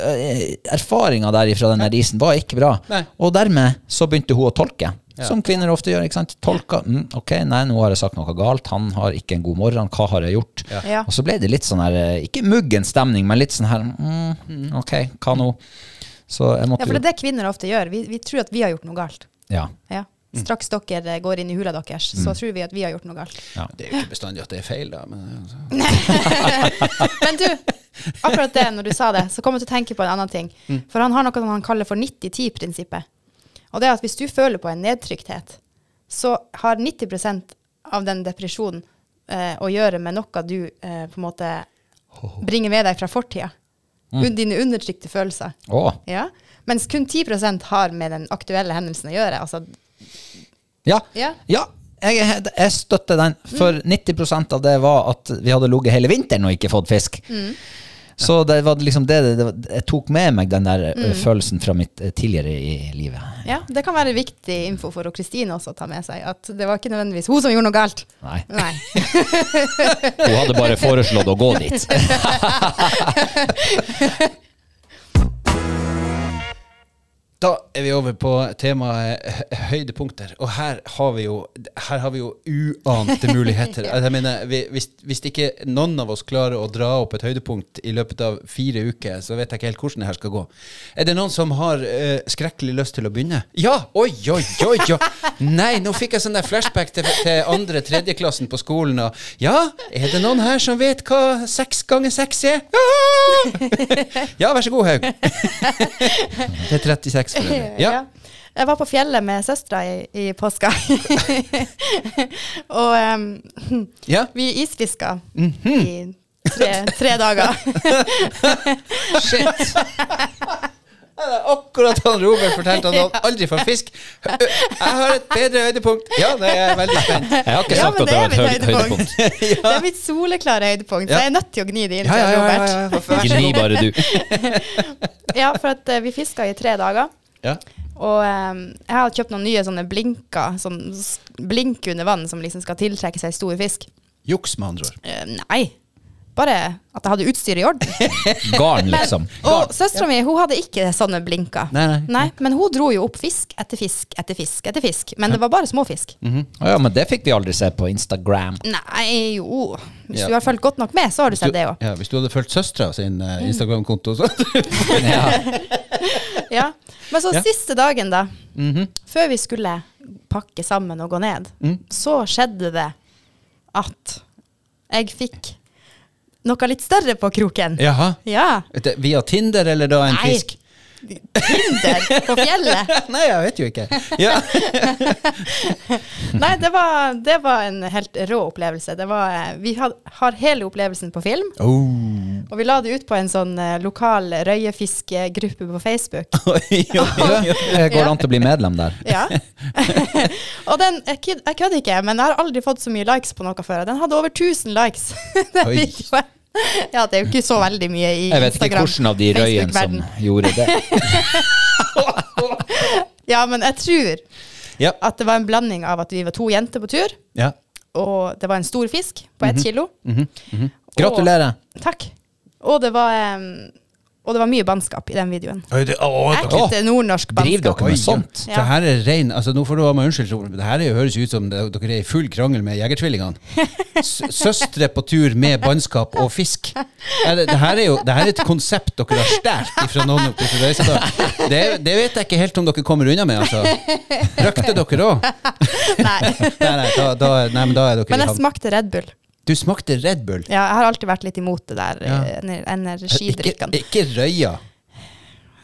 Speaker 3: erfaringa der fra den der isen var ikke bra.
Speaker 1: Nei.
Speaker 3: Og dermed så begynte hun å tolke, som kvinner ofte gjør. ikke sant? Tolka mm, Ok, nei, nå har jeg sagt noe galt. Han har ikke en god morgen. Hva har jeg gjort?
Speaker 2: Ja.
Speaker 3: Og så ble det litt sånn her eh, Ikke muggen stemning, men litt sånn her mm, Ok, hva nå? Så jeg
Speaker 2: Ja,
Speaker 3: måtte
Speaker 2: for det
Speaker 3: jo
Speaker 2: er det kvinner ofte gjør. Vi, vi tror at vi har gjort noe galt.
Speaker 3: Ja.
Speaker 2: Ja. Straks dere eh, går inn i hula deres, så tror vi at vi har gjort noe galt. [LAUGHS]
Speaker 1: Det er jo ikke bestandig at det er feil, da. Men, altså.
Speaker 2: Men du, akkurat det når du sa det, så kom jeg til å tenke på en annen ting. For han har noe som han kaller for 90-10-prinsippet. Og det er at hvis du føler på en nedtrykthet, så har 90 av den depresjonen eh, å gjøre med noe du eh, på en måte bringer med deg fra fortida. Un- Dine undertrykte følelser.
Speaker 3: Å,
Speaker 2: Ja. Mens kun 10 har med den aktuelle hendelsen å gjøre. Altså,
Speaker 3: ja.
Speaker 2: Ja. Mm.
Speaker 3: Ja, jeg, er helt- jeg støtter den. For 90 av det var at vi hadde ligget hele vinteren og ikke fått fisk.
Speaker 2: Mm.
Speaker 3: Så det var liksom det, det, det var- jeg tok med meg den der
Speaker 2: Mm.
Speaker 3: ø, følelsen fra mitt ø, tidligere i livet.
Speaker 2: ja, det kan være viktig info for Kristine også å ta med seg. At det var ikke nødvendigvis hun som gjorde noe galt.
Speaker 3: Nei. [LAUGHS]
Speaker 2: Nei.
Speaker 3: Hun hadde bare foreslått å [LAUGHS] gå dit.
Speaker 1: Da er vi over på temaet [LAUGHS] eh, høydepunkter, og her har vi jo, her har vi jo uante muligheter. Altså, Jeg mener, vi- hvis, hvis ikke noen av oss klarer å dra opp et høydepunkt i løpet av fire uker, så vet jeg ikke helt hvordan det her skal gå. Er det noen som har eh, skrekkelig lyst til å begynne? Ja! Oi, oi, oi! oi. Nei, nå fikk jeg sånn der flashback til, til andre tredjeklassen på skolen. Og, ja, er det noen her som vet hva seks ganger seks er? Ja! ja, vær så god, Haug. [LAUGHS] Det er 36 for
Speaker 2: [LAUGHS]
Speaker 1: øvrig. Ja.
Speaker 2: Jeg var på fjellet med søstera i, i påska. [LAUGHS] og em,
Speaker 1: Ja.
Speaker 2: vi isfiska
Speaker 3: Mhm.
Speaker 2: i tre, tre dager.
Speaker 1: Shit. [LAUGHS] Det er akkurat han Robert fortalte [LAUGHS] at han aldri får fisk. Jeg har et bedre høydepunkt. Ja, det er jeg veldig spent.
Speaker 3: Jeg har ikke
Speaker 2: Ja,
Speaker 3: sagt
Speaker 2: men
Speaker 3: at det var et
Speaker 2: det er
Speaker 3: høy-
Speaker 2: mitt høydepunkt. [LAUGHS]
Speaker 3: høydepunkt.
Speaker 2: Det er mitt soleklare høydepunkt, så
Speaker 1: Ja.
Speaker 2: jeg er nødt til å gni det inn til
Speaker 1: Ja, ja, ja, ja,
Speaker 2: Robert.
Speaker 1: ja, vær så god.
Speaker 3: Gni bare du.
Speaker 2: Ja, for at eh, vi fiska i tre dager.
Speaker 1: Ja.
Speaker 2: Og eh, jeg har kjøpt noen nye sånne blinker, sånn s- blink under vann som liksom skal tiltrekke seg stor fisk.
Speaker 1: Juks, med andre ord.
Speaker 2: Eh, nei, bare at jeg hadde utstyret i orden.
Speaker 3: Garn, liksom.
Speaker 2: Og søstera mi hun hadde ikke sånne blinker.
Speaker 1: Nei, nei.
Speaker 2: Men hun dro jo opp fisk etter fisk etter fisk etter fisk. Men det var bare små fisk.
Speaker 1: Mm.
Speaker 3: Mhm. Å ja, men det fikk vi aldri se på
Speaker 2: [LAUGHS]
Speaker 3: Instagram.
Speaker 2: Nei, jo Hvis
Speaker 1: Ja.
Speaker 2: du har fulgt godt nok med, så har du sett det òg.
Speaker 1: Ja, hvis du hadde fulgt søstera sin eh, Instagram-konto, så
Speaker 3: Ja.
Speaker 2: Ja. Men så
Speaker 1: Ja. Mhm.
Speaker 2: siste dagen, da. Før vi skulle pakke sammen og gå ned,
Speaker 1: Mm.
Speaker 2: så skjedde det at jeg fikk noe litt større på kroken.
Speaker 1: [LAUGHS] Jaha.
Speaker 2: Ja.
Speaker 1: Det- Via Tinder eller da en
Speaker 2: Nei.
Speaker 1: fisk? [LAUGHS]
Speaker 2: Tinder på fjellet.
Speaker 1: Nei, jeg vet jo ikke. [LAUGHS] Ja.
Speaker 2: Nei, det var, det var en helt rå opplevelse. Det var, eh, vi had, har hele opplevelsen på film,
Speaker 1: Oh.
Speaker 2: og vi la det ut på en sånn eh, lokal røyefiskegruppe på Facebook.
Speaker 1: Oi, oi, oi.
Speaker 3: Går det an til å bli medlem
Speaker 2: [LAUGHS]
Speaker 3: der? [LAUGHS]
Speaker 2: Ja. og den, jeg kød- jeg kødder ikke, men jeg har aldri fått så mye likes på noe før. og Den hadde over 1000 likes. [LAUGHS] Den
Speaker 1: Oi.
Speaker 2: videoen. ja, det er jo ikke så veldig mye i
Speaker 3: Jeg vet ikke
Speaker 2: Instagram.
Speaker 3: hvilken av de røyene som
Speaker 2: Facebook-verden.
Speaker 3: gjorde det.
Speaker 2: Ja, men jeg tror
Speaker 1: Ja.
Speaker 2: at det var en blanding av at vi var to jenter på tur,
Speaker 1: Ja.
Speaker 2: og det var en stor fisk på ett kilo.
Speaker 3: Mhm. Gratulerer.
Speaker 2: Og, takk. Og det var em, og det var mye bannskap i den videoen.
Speaker 1: Oi, det- å, det- å.
Speaker 2: Ekte nordnorsk
Speaker 3: Driver
Speaker 2: bannskap.
Speaker 3: dere med sånt?
Speaker 1: Det her er rein, altså nå får du ha meg unnskyld, Robert, men det her er jo, høres ut som det, dere er i full krangel med
Speaker 2: [LAUGHS]
Speaker 1: jegertvillingene. S- Søstre på tur med bannskap og fisk. Er Det, det her er jo det her er et konsept dere har stjålet fra noen oppe i Røystad. Det, det vet jeg ikke helt om dere kommer unna med, altså. Røkte dere òg?
Speaker 3: [LAUGHS]
Speaker 2: Nei.
Speaker 1: Nei, nei, da, da, nei, men da er dere
Speaker 2: Men
Speaker 1: i
Speaker 2: jeg
Speaker 1: havn.
Speaker 2: smakte Red Bull.
Speaker 1: Du smakte Red Bull.
Speaker 2: Ja, jeg har alltid vært litt imot det der
Speaker 1: Ja.
Speaker 2: eh, ener-
Speaker 1: Ikke,
Speaker 2: energidrikkene.
Speaker 1: ikke røya.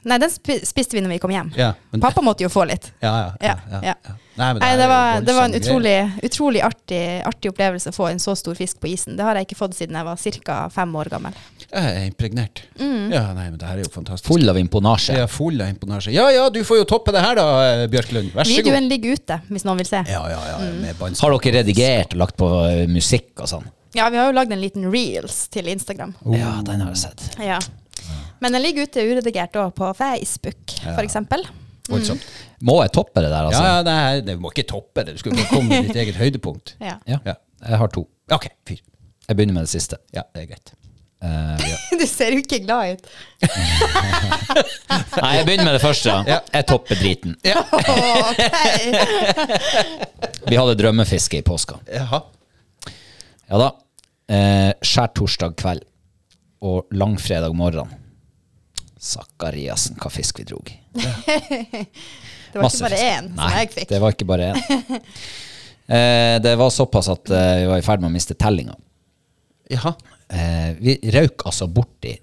Speaker 2: Nei, den spi- spiste vi når vi kom hjem.
Speaker 1: Ja, men-
Speaker 2: Pappa måtte jo få litt.
Speaker 1: Ja, ja. ja,
Speaker 2: Ja,
Speaker 1: ja,
Speaker 2: ja.
Speaker 1: ja. Nei, men
Speaker 2: Nei,
Speaker 1: her
Speaker 2: det
Speaker 1: er jo
Speaker 2: var, det var en
Speaker 1: voldsomme
Speaker 2: utrolig, utrolig artig, artig opplevelse å få en så stor fisk på isen. Det har jeg ikke fått siden jeg var ca. fem år gammel.
Speaker 1: greier. Jeg er impregnert.
Speaker 2: Mm.
Speaker 1: Ja, nei, men det her er jo fantastisk.
Speaker 3: Full av imponasje.
Speaker 1: Jeg er full av imponasje. Ja ja, du får jo toppe det her da, eh, Bjørklund. Vær så god.
Speaker 2: Videoen ligger ute, hvis noen vil se.
Speaker 1: Ja, ja, ja, med bansk.
Speaker 3: Har dere redigert og lagt på ø, musikk og sånn?
Speaker 2: Ja, vi har jo lagd en liten reels til Instagram.
Speaker 3: Ja, den har jeg sett.
Speaker 2: Ja. Men den ligger ute uredigert òg, på Facebook f.eks.
Speaker 1: Voldsomt.
Speaker 3: Må jeg toppe det der,
Speaker 1: Ja,
Speaker 3: altså?
Speaker 1: ja, det, her, det må ikke toppe det. Du skal ikke komme med ditt eget høydepunkt.
Speaker 2: Ja. [LAUGHS]
Speaker 3: Ja.
Speaker 1: Ja.
Speaker 3: Jeg har to.
Speaker 1: OK, fyr.
Speaker 3: Jeg begynner med det siste.
Speaker 1: Ja, det er greit.
Speaker 3: Eh, ja.
Speaker 2: Du ser jo ikke glad ut.
Speaker 3: [LAUGHS] Nei, jeg begynner med det første. da. Jeg topper driten.
Speaker 2: Ok.
Speaker 3: [LAUGHS] Vi hadde drømmefiske i påska.
Speaker 1: Jaha.
Speaker 3: Ja da. Eh, Skjærtorsdag kveld og langfredag morgen. Sakariassen, hva fisk vi drog.
Speaker 2: Det var ikke bare én som jeg fikk.
Speaker 3: det var ikke bare én.
Speaker 2: [LAUGHS]
Speaker 3: Eh, det var såpass at eh, vi var i ferd med å miste tellinga.
Speaker 1: Jaha.
Speaker 3: Eh, vi røyk altså borti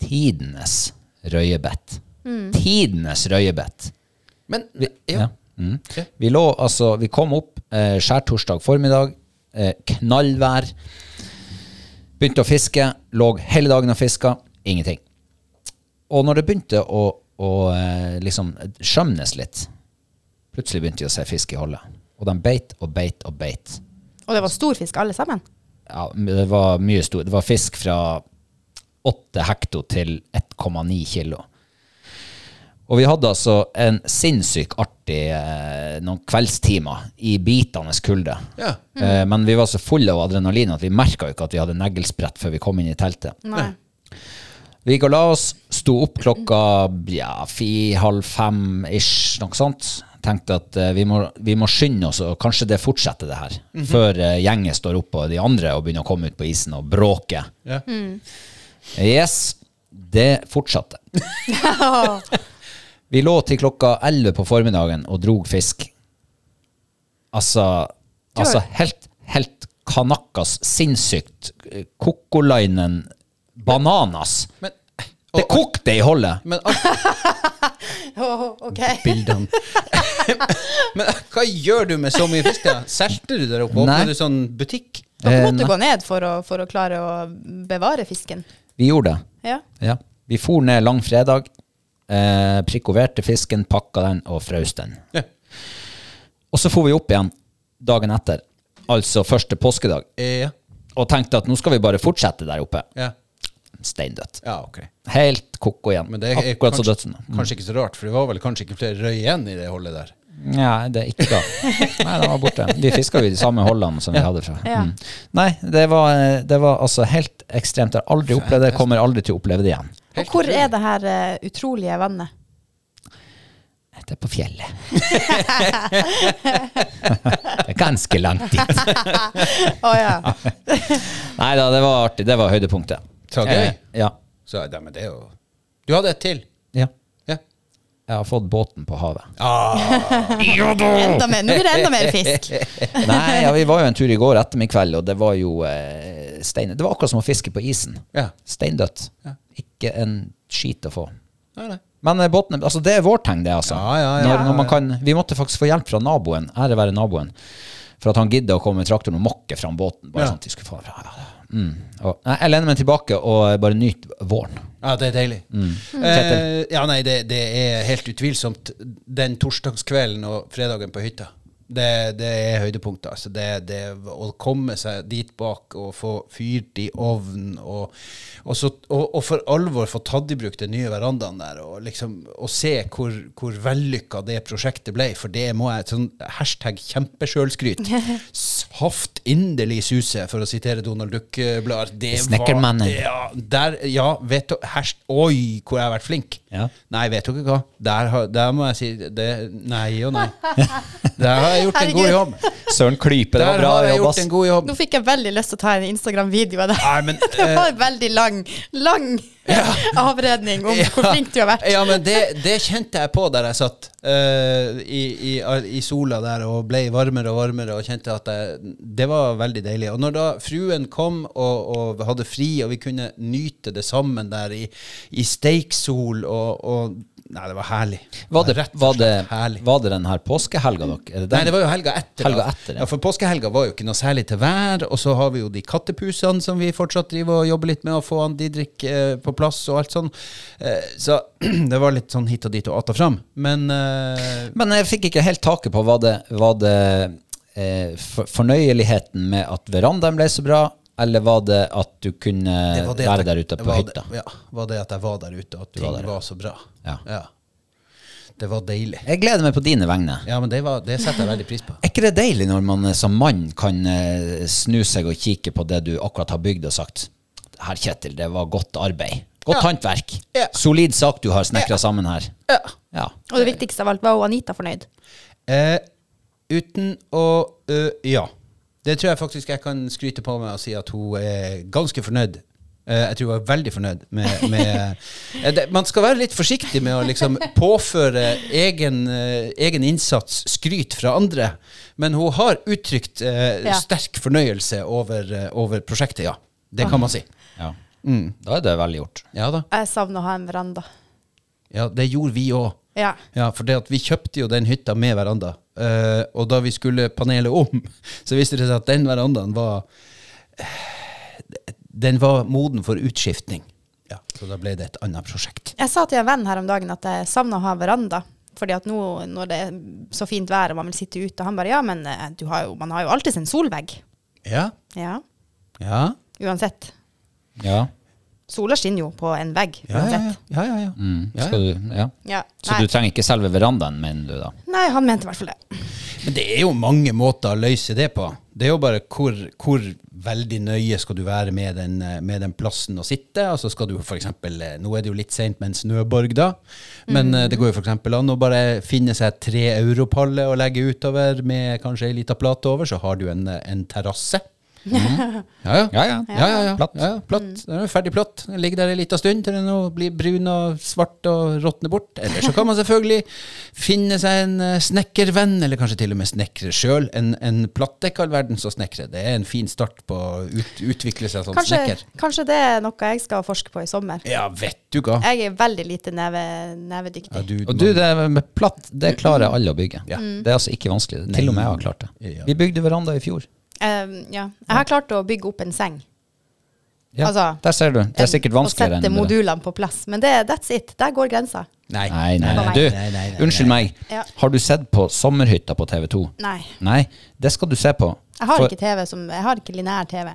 Speaker 3: tidenes røyebett. Tidenes røyebett. Mm.
Speaker 1: Men ja.
Speaker 3: Ja. Vi lå altså Vi kom opp eh, skjærtorsdag formiddag. eh, knallvær. Begynte å fiske, lå hele dagen og fiska, ingenting. Og når det begynte å, å eh, liksom skjømnes litt, plutselig begynte jeg å se fisk i holdet. Og de beit og beit og beit.
Speaker 2: Og det var stor fisk, alle sammen.
Speaker 3: Ja, men det var mye stor. Det var fisk fra 8 hekto til 1,9 kilo. Og vi hadde altså en sinnssykt artig eh, noen kveldstimer i bitende kulde.
Speaker 1: Ja.
Speaker 3: Eh, men vi var så fulle av adrenalin at vi merka ikke at vi hadde neglesprett før vi kom inn i teltet.
Speaker 2: Nei.
Speaker 3: Vi gikk og la oss, sto opp klokka ja, fire, halv fem ish, noe sånt. Tenkte at eh, vi, må, vi må skynde oss, og kanskje det fortsetter det her. Før eh, gjengen står opp og de andre og begynner å komme ut på isen og bråke.
Speaker 1: Ja.
Speaker 3: Yes, det fortsatte. Vi lå til klokka 11 på formiddagen og drog fisk. Altså, altså helt, helt kanakkas sinnssykt. eh, Kokolainen bananas.
Speaker 1: Men,
Speaker 3: Det kokte i hullet.
Speaker 1: men alt
Speaker 2: Åh, ok.
Speaker 1: bildene. [LAUGHS] Men hva gjør du med så mye fisk? da? Selter du der oppe?
Speaker 3: Nei.
Speaker 1: Åpner du sånn butikk?
Speaker 2: Dere
Speaker 3: Eh,
Speaker 2: måtte
Speaker 3: nei.
Speaker 2: gå ned for å, for å klare å bevare fisken.
Speaker 3: Vi gjorde det.
Speaker 2: Ja.
Speaker 3: Ja. Vi for ned langfredag, eh, prikoverte fisken, pakka den og frøs den.
Speaker 1: Ja.
Speaker 3: Og så for vi opp igjen dagen etter, altså første påskedag,
Speaker 1: Eh, Ja.
Speaker 3: og tenkte at nå skal vi bare fortsette der oppe.
Speaker 1: ja.
Speaker 3: Steindødt.
Speaker 1: Ja, ok.
Speaker 3: Helt koko igjen.
Speaker 1: Men det er
Speaker 3: Akkurat som
Speaker 1: kanskje,
Speaker 3: dødsen.
Speaker 1: kanskje ikke så rart, for det var vel kanskje ikke flere røy igjen i det holdet der.
Speaker 3: Nei, det er ikke
Speaker 1: [LAUGHS]
Speaker 3: da. Nei, den var borte. Vi fiska jo i de samme holdene som vi hadde fra.
Speaker 2: Ja.
Speaker 3: Mm. Nei, det var, det var altså helt ekstremt. Jeg har aldri opplevd det, kommer aldri til å oppleve det igjen.
Speaker 1: Helt
Speaker 2: Og hvor
Speaker 1: utrolig.
Speaker 2: er det her eh, utrolige vannet?
Speaker 3: Det er på fjellet. [LAUGHS] det er ganske langt dit.
Speaker 2: Å ja.
Speaker 3: Nei da, det var artig. Det var høydepunktet.
Speaker 1: Så gøy.
Speaker 3: Eh, ja.
Speaker 1: Så ja, men det er jo Du hadde et til.
Speaker 3: ja.
Speaker 1: Ja. Ah.
Speaker 3: Jeg har fått båten på havet.
Speaker 2: Enda mer. Nå blir det enda mer
Speaker 1: [LAUGHS]
Speaker 2: fisk.
Speaker 3: [LAUGHS] Nei, ja, vi var jo en tur i går ettermiddag kveld, og det var jo eh, stein... Det var akkurat som å fiske på isen.
Speaker 1: Ja.
Speaker 3: Steindødt. Ikke en skit å få.
Speaker 1: Nei, nei.
Speaker 3: Men eh, båten, altså det er vårt tegn, det, altså.
Speaker 1: Ja, ja, ja,
Speaker 3: når,
Speaker 1: ja,
Speaker 3: når man kan, vi måtte faktisk få hjelp fra naboen, ære være naboen, for at han gidda å komme med traktoren og mokke fram båten. Bare
Speaker 1: Ja.
Speaker 3: sånn at vi skulle få ja, ja. Mm. Og, nei, jeg lener meg tilbake og eh, bare nyter våren.
Speaker 1: Ja, det er deilig. Eh, ja, nei, det, det er helt utvilsomt den torsdagskvelden og fredagen på hytta. Det, det er høydepunktet. Altså det, det, å komme seg dit bak og få fyrt i ovnen, og, og, så, og, og for alvor få tatt i bruk den nye verandaen der, og, liksom, og se hvor, hvor vellykka det prosjektet ble. For det må jeg sånn hashtag kjempesjølskryt. Saft inderlig suse, for å sitere Donald Duck-blader. Det
Speaker 3: Snekkermannen.
Speaker 1: var- ja, der, ja, vet du hasht, Oi, hvor jeg har vært flink.
Speaker 3: Ja.
Speaker 1: Nei, vet dere hva? Der, har, der må jeg si det, Nei og
Speaker 3: [LAUGHS]
Speaker 1: nei. Der har jeg gjort en god
Speaker 2: Herregud.
Speaker 1: jobb.
Speaker 3: Søren Klype, det
Speaker 1: Der
Speaker 3: var bra
Speaker 1: har jeg
Speaker 3: jobb,
Speaker 1: gjort
Speaker 3: ass.
Speaker 1: en god jobb.
Speaker 2: Nå fikk jeg veldig lyst til å ta en Instagram-video av det.
Speaker 1: Nei, men,
Speaker 2: [LAUGHS]
Speaker 1: eh,
Speaker 2: Det var en veldig lang, lang [LAUGHS] avredning
Speaker 1: [LAUGHS]
Speaker 2: om hvor flink du har vært.
Speaker 1: Ja, men det, det kjente jeg på der jeg satt eh, i, i, i sola der og ble varmere og varmere og kjente at jeg, det var veldig deilig. Og når da fruen kom og, og hadde fri, og vi kunne nyte det sammen der i, i steiksol og, og Nei, det var herlig.
Speaker 3: Var det,
Speaker 1: Rett og
Speaker 3: var, det,
Speaker 1: slett herlig.
Speaker 3: var det den her påskehelga dere er det den?
Speaker 1: Nei, det var jo helga etter.
Speaker 3: Helga
Speaker 1: da.
Speaker 3: etter, ja.
Speaker 1: ja. For påskehelga var jo ikke noe særlig til vær, og så har vi jo de kattepusene som vi fortsatt driver og jobber litt med å få han Didrik eh, på plass og alt sånn. Eh, så [CLEARS THROAT] det var litt sånn hit og dit og att og fram. Men eh,
Speaker 3: Men jeg fikk ikke helt taket på var det, var det eh, for, fornøyeligheten med at verandaen ble så bra, eller var det at du kunne
Speaker 1: var at
Speaker 3: være
Speaker 1: jeg-
Speaker 3: der ute på
Speaker 1: var
Speaker 3: hytta?
Speaker 1: Det, ja, var det at jeg var der ute, og at ting
Speaker 3: var
Speaker 1: var,
Speaker 3: der.
Speaker 1: så bra.
Speaker 3: Ja.
Speaker 1: Det var deilig.
Speaker 3: Jeg gleder meg på dine vegne.
Speaker 1: Ja, men det, var, det setter jeg veldig pris på.
Speaker 3: Er ikke det deilig når man eh, som mann kan eh, snu seg og kikke på det du akkurat har bygd og sagt Herr Kjetil, det var godt arbeid. Godt
Speaker 1: Ja.
Speaker 3: håndverk.
Speaker 1: Ja.
Speaker 3: Solid sak du har snekra sammen her.
Speaker 1: Ja.
Speaker 3: Ja.
Speaker 2: Og det viktigste av alt, var Anita fornøyd?
Speaker 1: Eh, uten å eh, Ja. Det tror jeg faktisk jeg kan skryte på meg og si at hun er ganske fornøyd. Eh, jeg tror hun er veldig fornøyd med, med eh, det, Man skal være litt forsiktig med å liksom påføre egen, eh, egen innsats skryt fra andre, men hun har uttrykt eh,
Speaker 2: Ja.
Speaker 1: sterk fornøyelse over, eh, over prosjektet, ja. Det kan man si. Mm.
Speaker 3: ja. Da er det vel gjort.
Speaker 1: Ja da.
Speaker 2: Jeg savner å ha en veranda.
Speaker 1: Ja, det gjorde vi òg.
Speaker 2: Ja.
Speaker 1: Ja, for det at vi kjøpte jo den hytta med veranda. Eh, og da vi skulle panelet om, [LAUGHS] så viste det seg at den verandaen var eh, Den var moden for utskiftning. Ja, Så da ble det et annet prosjekt.
Speaker 2: Jeg sa til en venn her om dagen at jeg savna å ha veranda. Fordi at nå når det er så fint vær og man vil sitte ute, han bare ja, men eh, du har jo, man har jo alltid sin solvegg.
Speaker 1: Ja,
Speaker 2: Ja,
Speaker 1: ja,
Speaker 2: uansett.
Speaker 3: Ja.
Speaker 2: Sola skinner jo på en vegg
Speaker 1: ja. ja,
Speaker 2: uansett.
Speaker 1: ja, ja, ja.
Speaker 3: Mm.
Speaker 1: Ja, ja.
Speaker 3: Skal du, ja.
Speaker 2: Ja.
Speaker 3: Så
Speaker 2: Nei.
Speaker 3: du trenger ikke selve verandaen, mener du da?
Speaker 2: Nei, han mente i hvert fall det.
Speaker 1: Men det er jo mange måter å løse det på. Det er jo bare hvor, hvor veldig nøye skal du være med den, eh, med den plassen å sitte. Altså skal du for eksempel, eh, Nå er det jo litt seint med en snøborg, da. Men eh, det går jo for eksempel an å bare finne seg tre europaller og legge utover med kanskje ei lita plate over, så har du en, eh, en terrasse. Mhm. Ja, ja.
Speaker 3: Ja, ja.
Speaker 1: Ja, ja, ja.
Speaker 3: Platt.
Speaker 1: Ja, ja, platt. Mm. Den er ferdig platt. Den ligger der en liten stund til den nå blir brun og svart og råtner bort. Eller så kan man selvfølgelig finne seg en eh, snekkervenn, eller kanskje til og med snekre sjøl. En, en plattdekk all verden som snekrer. Det er en fin start på å ut, utvikle seg som
Speaker 2: Kanskje,
Speaker 1: snekker.
Speaker 2: kanskje det er noe jeg skal forske på i sommer.
Speaker 1: Ja, vet du hva.
Speaker 2: Jeg er veldig lite neve,
Speaker 1: Ja,
Speaker 2: nevedyktig.
Speaker 1: du,
Speaker 3: Og du, det med platt, det klarer alle å bygge.
Speaker 1: Ja.
Speaker 3: Det er altså ikke vanskelig. Til og med jeg har klart det.
Speaker 1: Ja.
Speaker 3: Vi bygde veranda i fjor.
Speaker 2: Eh, ja. Jeg har klart å bygge opp en seng.
Speaker 3: Ja,
Speaker 2: Altså,
Speaker 3: der ser du. Det er sikkert vanskeligere
Speaker 2: enn det. Og sette
Speaker 3: enn det.
Speaker 2: modulene på plass. Men det, that's it. Der går grensa.
Speaker 1: nei,
Speaker 3: Nei,
Speaker 2: Nei,
Speaker 3: nei, nei.
Speaker 2: nei,
Speaker 3: Du,
Speaker 1: nei, nei, nei.
Speaker 3: unnskyld meg.
Speaker 2: Ja.
Speaker 3: Har du sett på Sommerhytta på TV2?
Speaker 2: Nei.
Speaker 3: Nei, det skal du se på.
Speaker 2: Jeg har
Speaker 3: For-
Speaker 2: ikke TV som, jeg har ikke lineær TV.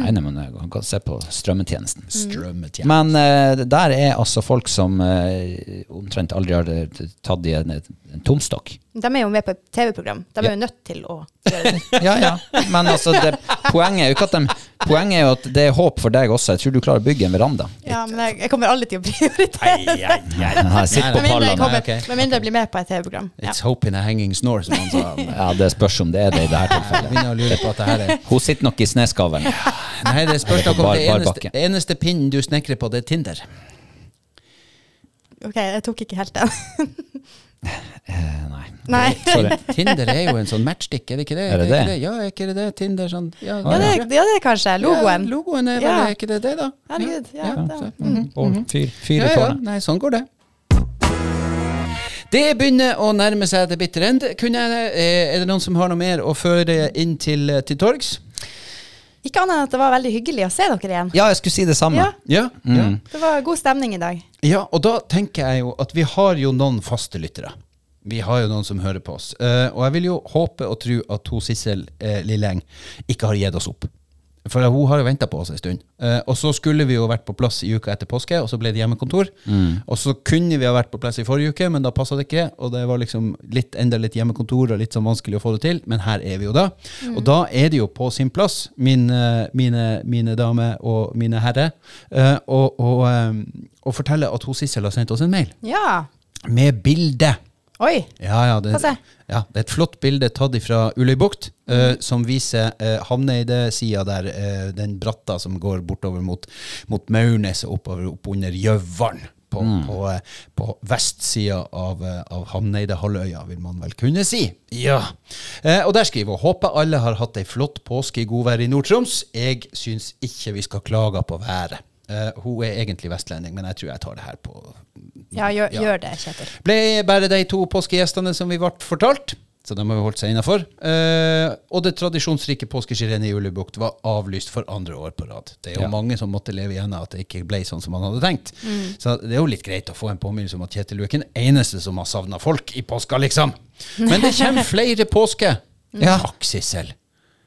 Speaker 3: Nei, nei, men jeg kan se på strømmetjenesten.
Speaker 1: Strømmet, ja.
Speaker 3: Men eh, der er altså folk som eh, omtrent aldri har eh, tatt i en, en
Speaker 2: [LAUGHS]
Speaker 3: tomstokk.
Speaker 2: De er jo med på et TV-program. De er jo nødt til å gjøre det.
Speaker 3: Ja, ja. Men altså, det, poenget, er jo ikke at de, poenget er jo at det er håp for deg også. Jeg tror du klarer å bygge en veranda.
Speaker 2: Ja, men jeg, jeg kommer aldri til å [LAUGHS] prioritere
Speaker 1: Nei, nei, nei.
Speaker 3: Nei, sitt på
Speaker 2: Med mindre jeg,
Speaker 3: pallene.
Speaker 2: kommer,
Speaker 1: ok.
Speaker 2: med mindre jeg blir med på et TV-program. Ja.
Speaker 1: It's hope in a hanging snore, som han [LAUGHS] sa.
Speaker 3: Ja, det spørs om det er det i det her tilfellet.
Speaker 1: Jeg begynner å lure på at det her er
Speaker 3: Hun sitter nok i sneskavlen.
Speaker 1: Nei, det spørs
Speaker 3: Eller
Speaker 1: nok
Speaker 3: på
Speaker 1: om
Speaker 3: bar-
Speaker 1: det eneste,
Speaker 3: barbakke.
Speaker 1: eneste pinnen du snekrer på, det er Tinder.
Speaker 2: Ok, jeg tok ikke helt den.
Speaker 3: Eh, Nei.
Speaker 2: Nei.
Speaker 3: Sorry.
Speaker 2: [LAUGHS]
Speaker 1: Tinder er jo en sånn matchstick, er det ikke det?
Speaker 3: Er det
Speaker 1: ikke
Speaker 3: det?
Speaker 1: Ja, er ikke det det? Tinder sånn Ja,
Speaker 2: Ja, det, er- ja, det er kanskje logoen.
Speaker 1: Ja, logoen er vel
Speaker 2: Ja.
Speaker 1: Er ikke det det, da?
Speaker 2: Herregud. Ja, det Mm.
Speaker 1: så-
Speaker 2: var-
Speaker 3: Bål, Fyr, fyr
Speaker 1: ja,
Speaker 3: i
Speaker 1: ja.
Speaker 3: tårnet.
Speaker 1: Nei, sånn går det. Det begynner å nærme seg det bitre ende. Kunne jeg, eh, er det noen som har noe mer å føre inn til, eh, til torgs?
Speaker 2: Ikke annet enn at det var veldig hyggelig å se dere igjen.
Speaker 3: Ja, jeg skulle si det samme.
Speaker 2: Ja,
Speaker 1: Ja, ja.
Speaker 3: Mm.
Speaker 2: det var god stemning i dag.
Speaker 1: Ja, og da tenker jeg jo at vi har jo noen faste lyttere. Vi har jo noen som hører på oss. Eh, og jeg vil jo håpe og tro at hun Sissel uh, Lilleng ikke har gitt oss opp. For hun har jo venta på oss en stund. Eh, og så skulle vi jo vært på plass i uka etter påske, og så ble det hjemmekontor. Og så kunne vi ha vært på plass i forrige uke, men da passa det ikke. Og det var liksom litt, enda litt hjemmekontor og litt sånn vanskelig å få det til, men her er vi jo da. Og da er det jo på sin plass, min, eh, mine, mine damer og mine herrer, eh, og, og, eh, og fortelle at hun Sissel har sendt oss en mail
Speaker 2: Ja.
Speaker 1: med bilde.
Speaker 2: Oi.
Speaker 1: Ja, ja, det,
Speaker 2: Få se.
Speaker 1: ja, det er et flott bilde tatt fra Uløybukt, eh,
Speaker 2: Mhm.
Speaker 1: som viser uh, Hamneide-sida der, eh, den bratta som går bortover mot, mot Maurnes og oppover opp under Gjøvalen. På,
Speaker 2: Mhm.
Speaker 1: på, eh, på vestsida av, eh, av Hamneidehalvøya, vil man vel kunne si. Ja. Eh, og der skriver hun håper alle har hatt ei flott påske i godvær i Nord-Troms. Jeg syns ikke vi skal klage på været. Eh, hun er egentlig vestlending, men jeg tror jeg tar det her på
Speaker 2: Ja, gjør,
Speaker 1: Ja.
Speaker 2: gjør det, Kjetil.
Speaker 1: ble bare de to påskegjestene som vi ble fortalt. Så de har jo holdt seg innafor. og det tradisjonsrike påskeskirennet i Ulebukt var avlyst for andre år på rad. Det er jo
Speaker 3: Ja.
Speaker 1: mange som måtte leve igjen av at det ikke ble sånn som man hadde tenkt. Så det er jo litt greit å få en påminnelse om at Kjetil er ikke den eneste som har savna folk i påska, liksom. Men det kommer flere påske.
Speaker 3: Ja.
Speaker 1: Takk, Sissel.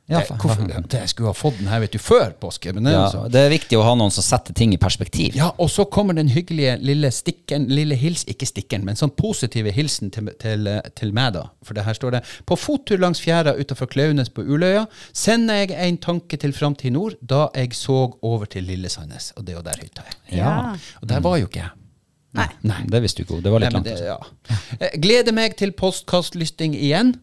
Speaker 3: Ja,
Speaker 1: Det-
Speaker 3: for-
Speaker 1: hvorfor-
Speaker 3: [LAUGHS]
Speaker 1: Jeg skulle ha fått den her vet du, før påske. Men det er jo så.
Speaker 3: Ja, det er viktig å ha noen som setter ting i perspektiv.
Speaker 1: Ja, og så kommer den hyggelige lille stikken, lille hils, ikke stikken, men sånn positive hilsen til, til, til meg, da. For det her står det På fottur langs fjæra utafor Klaunes på Uløya sender jeg en tanke til Framtid Nord da jeg så over til Lillesandnes. Og det er jo der hytta er.
Speaker 3: Ja.
Speaker 1: Og der var jo ikke jeg.
Speaker 2: Nei.
Speaker 1: Nei.
Speaker 3: Det visste du ikke. Det var
Speaker 1: Nei,
Speaker 3: litt
Speaker 1: men
Speaker 3: langt.
Speaker 1: det,
Speaker 3: altså.
Speaker 1: ja. Eh, Gleder meg til postkastlysting igjen.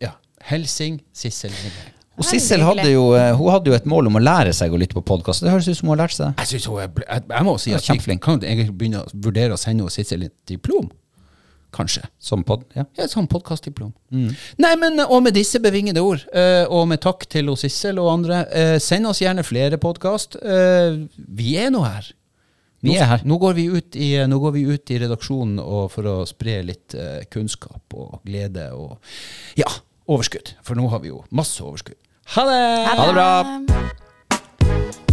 Speaker 1: Ja. Helsing Sissel Lindberg.
Speaker 3: Og Sissel hadde jo, eh, hun hadde jo et mål om å lære seg å lytte på podkast. Det høres ut som hun har lært seg det.
Speaker 1: Jeg, synes hun er, bl- jeg, jeg må si
Speaker 3: Ja,
Speaker 1: at vi
Speaker 3: kjempeflink.
Speaker 1: kan egentlig begynne å vurdere å sende hun Sissel et diplom. Kanskje.
Speaker 3: Som pod, ja.
Speaker 1: Ja, sånn podkastdiplom.
Speaker 3: Mm.
Speaker 1: Nei, men eh, og med disse bevingede ord, eh, og med takk til hos Sissel og andre, eh, send oss gjerne flere podkast. Vi er Eh, nå her.
Speaker 3: Vi er her.
Speaker 1: Nå går vi ut i, eh, nå går vi ut i redaksjonen og for å spre litt eh, kunnskap og glede og ja, overskudd. For nå har vi jo masse overskudd. Ha det!
Speaker 3: Ha det bra!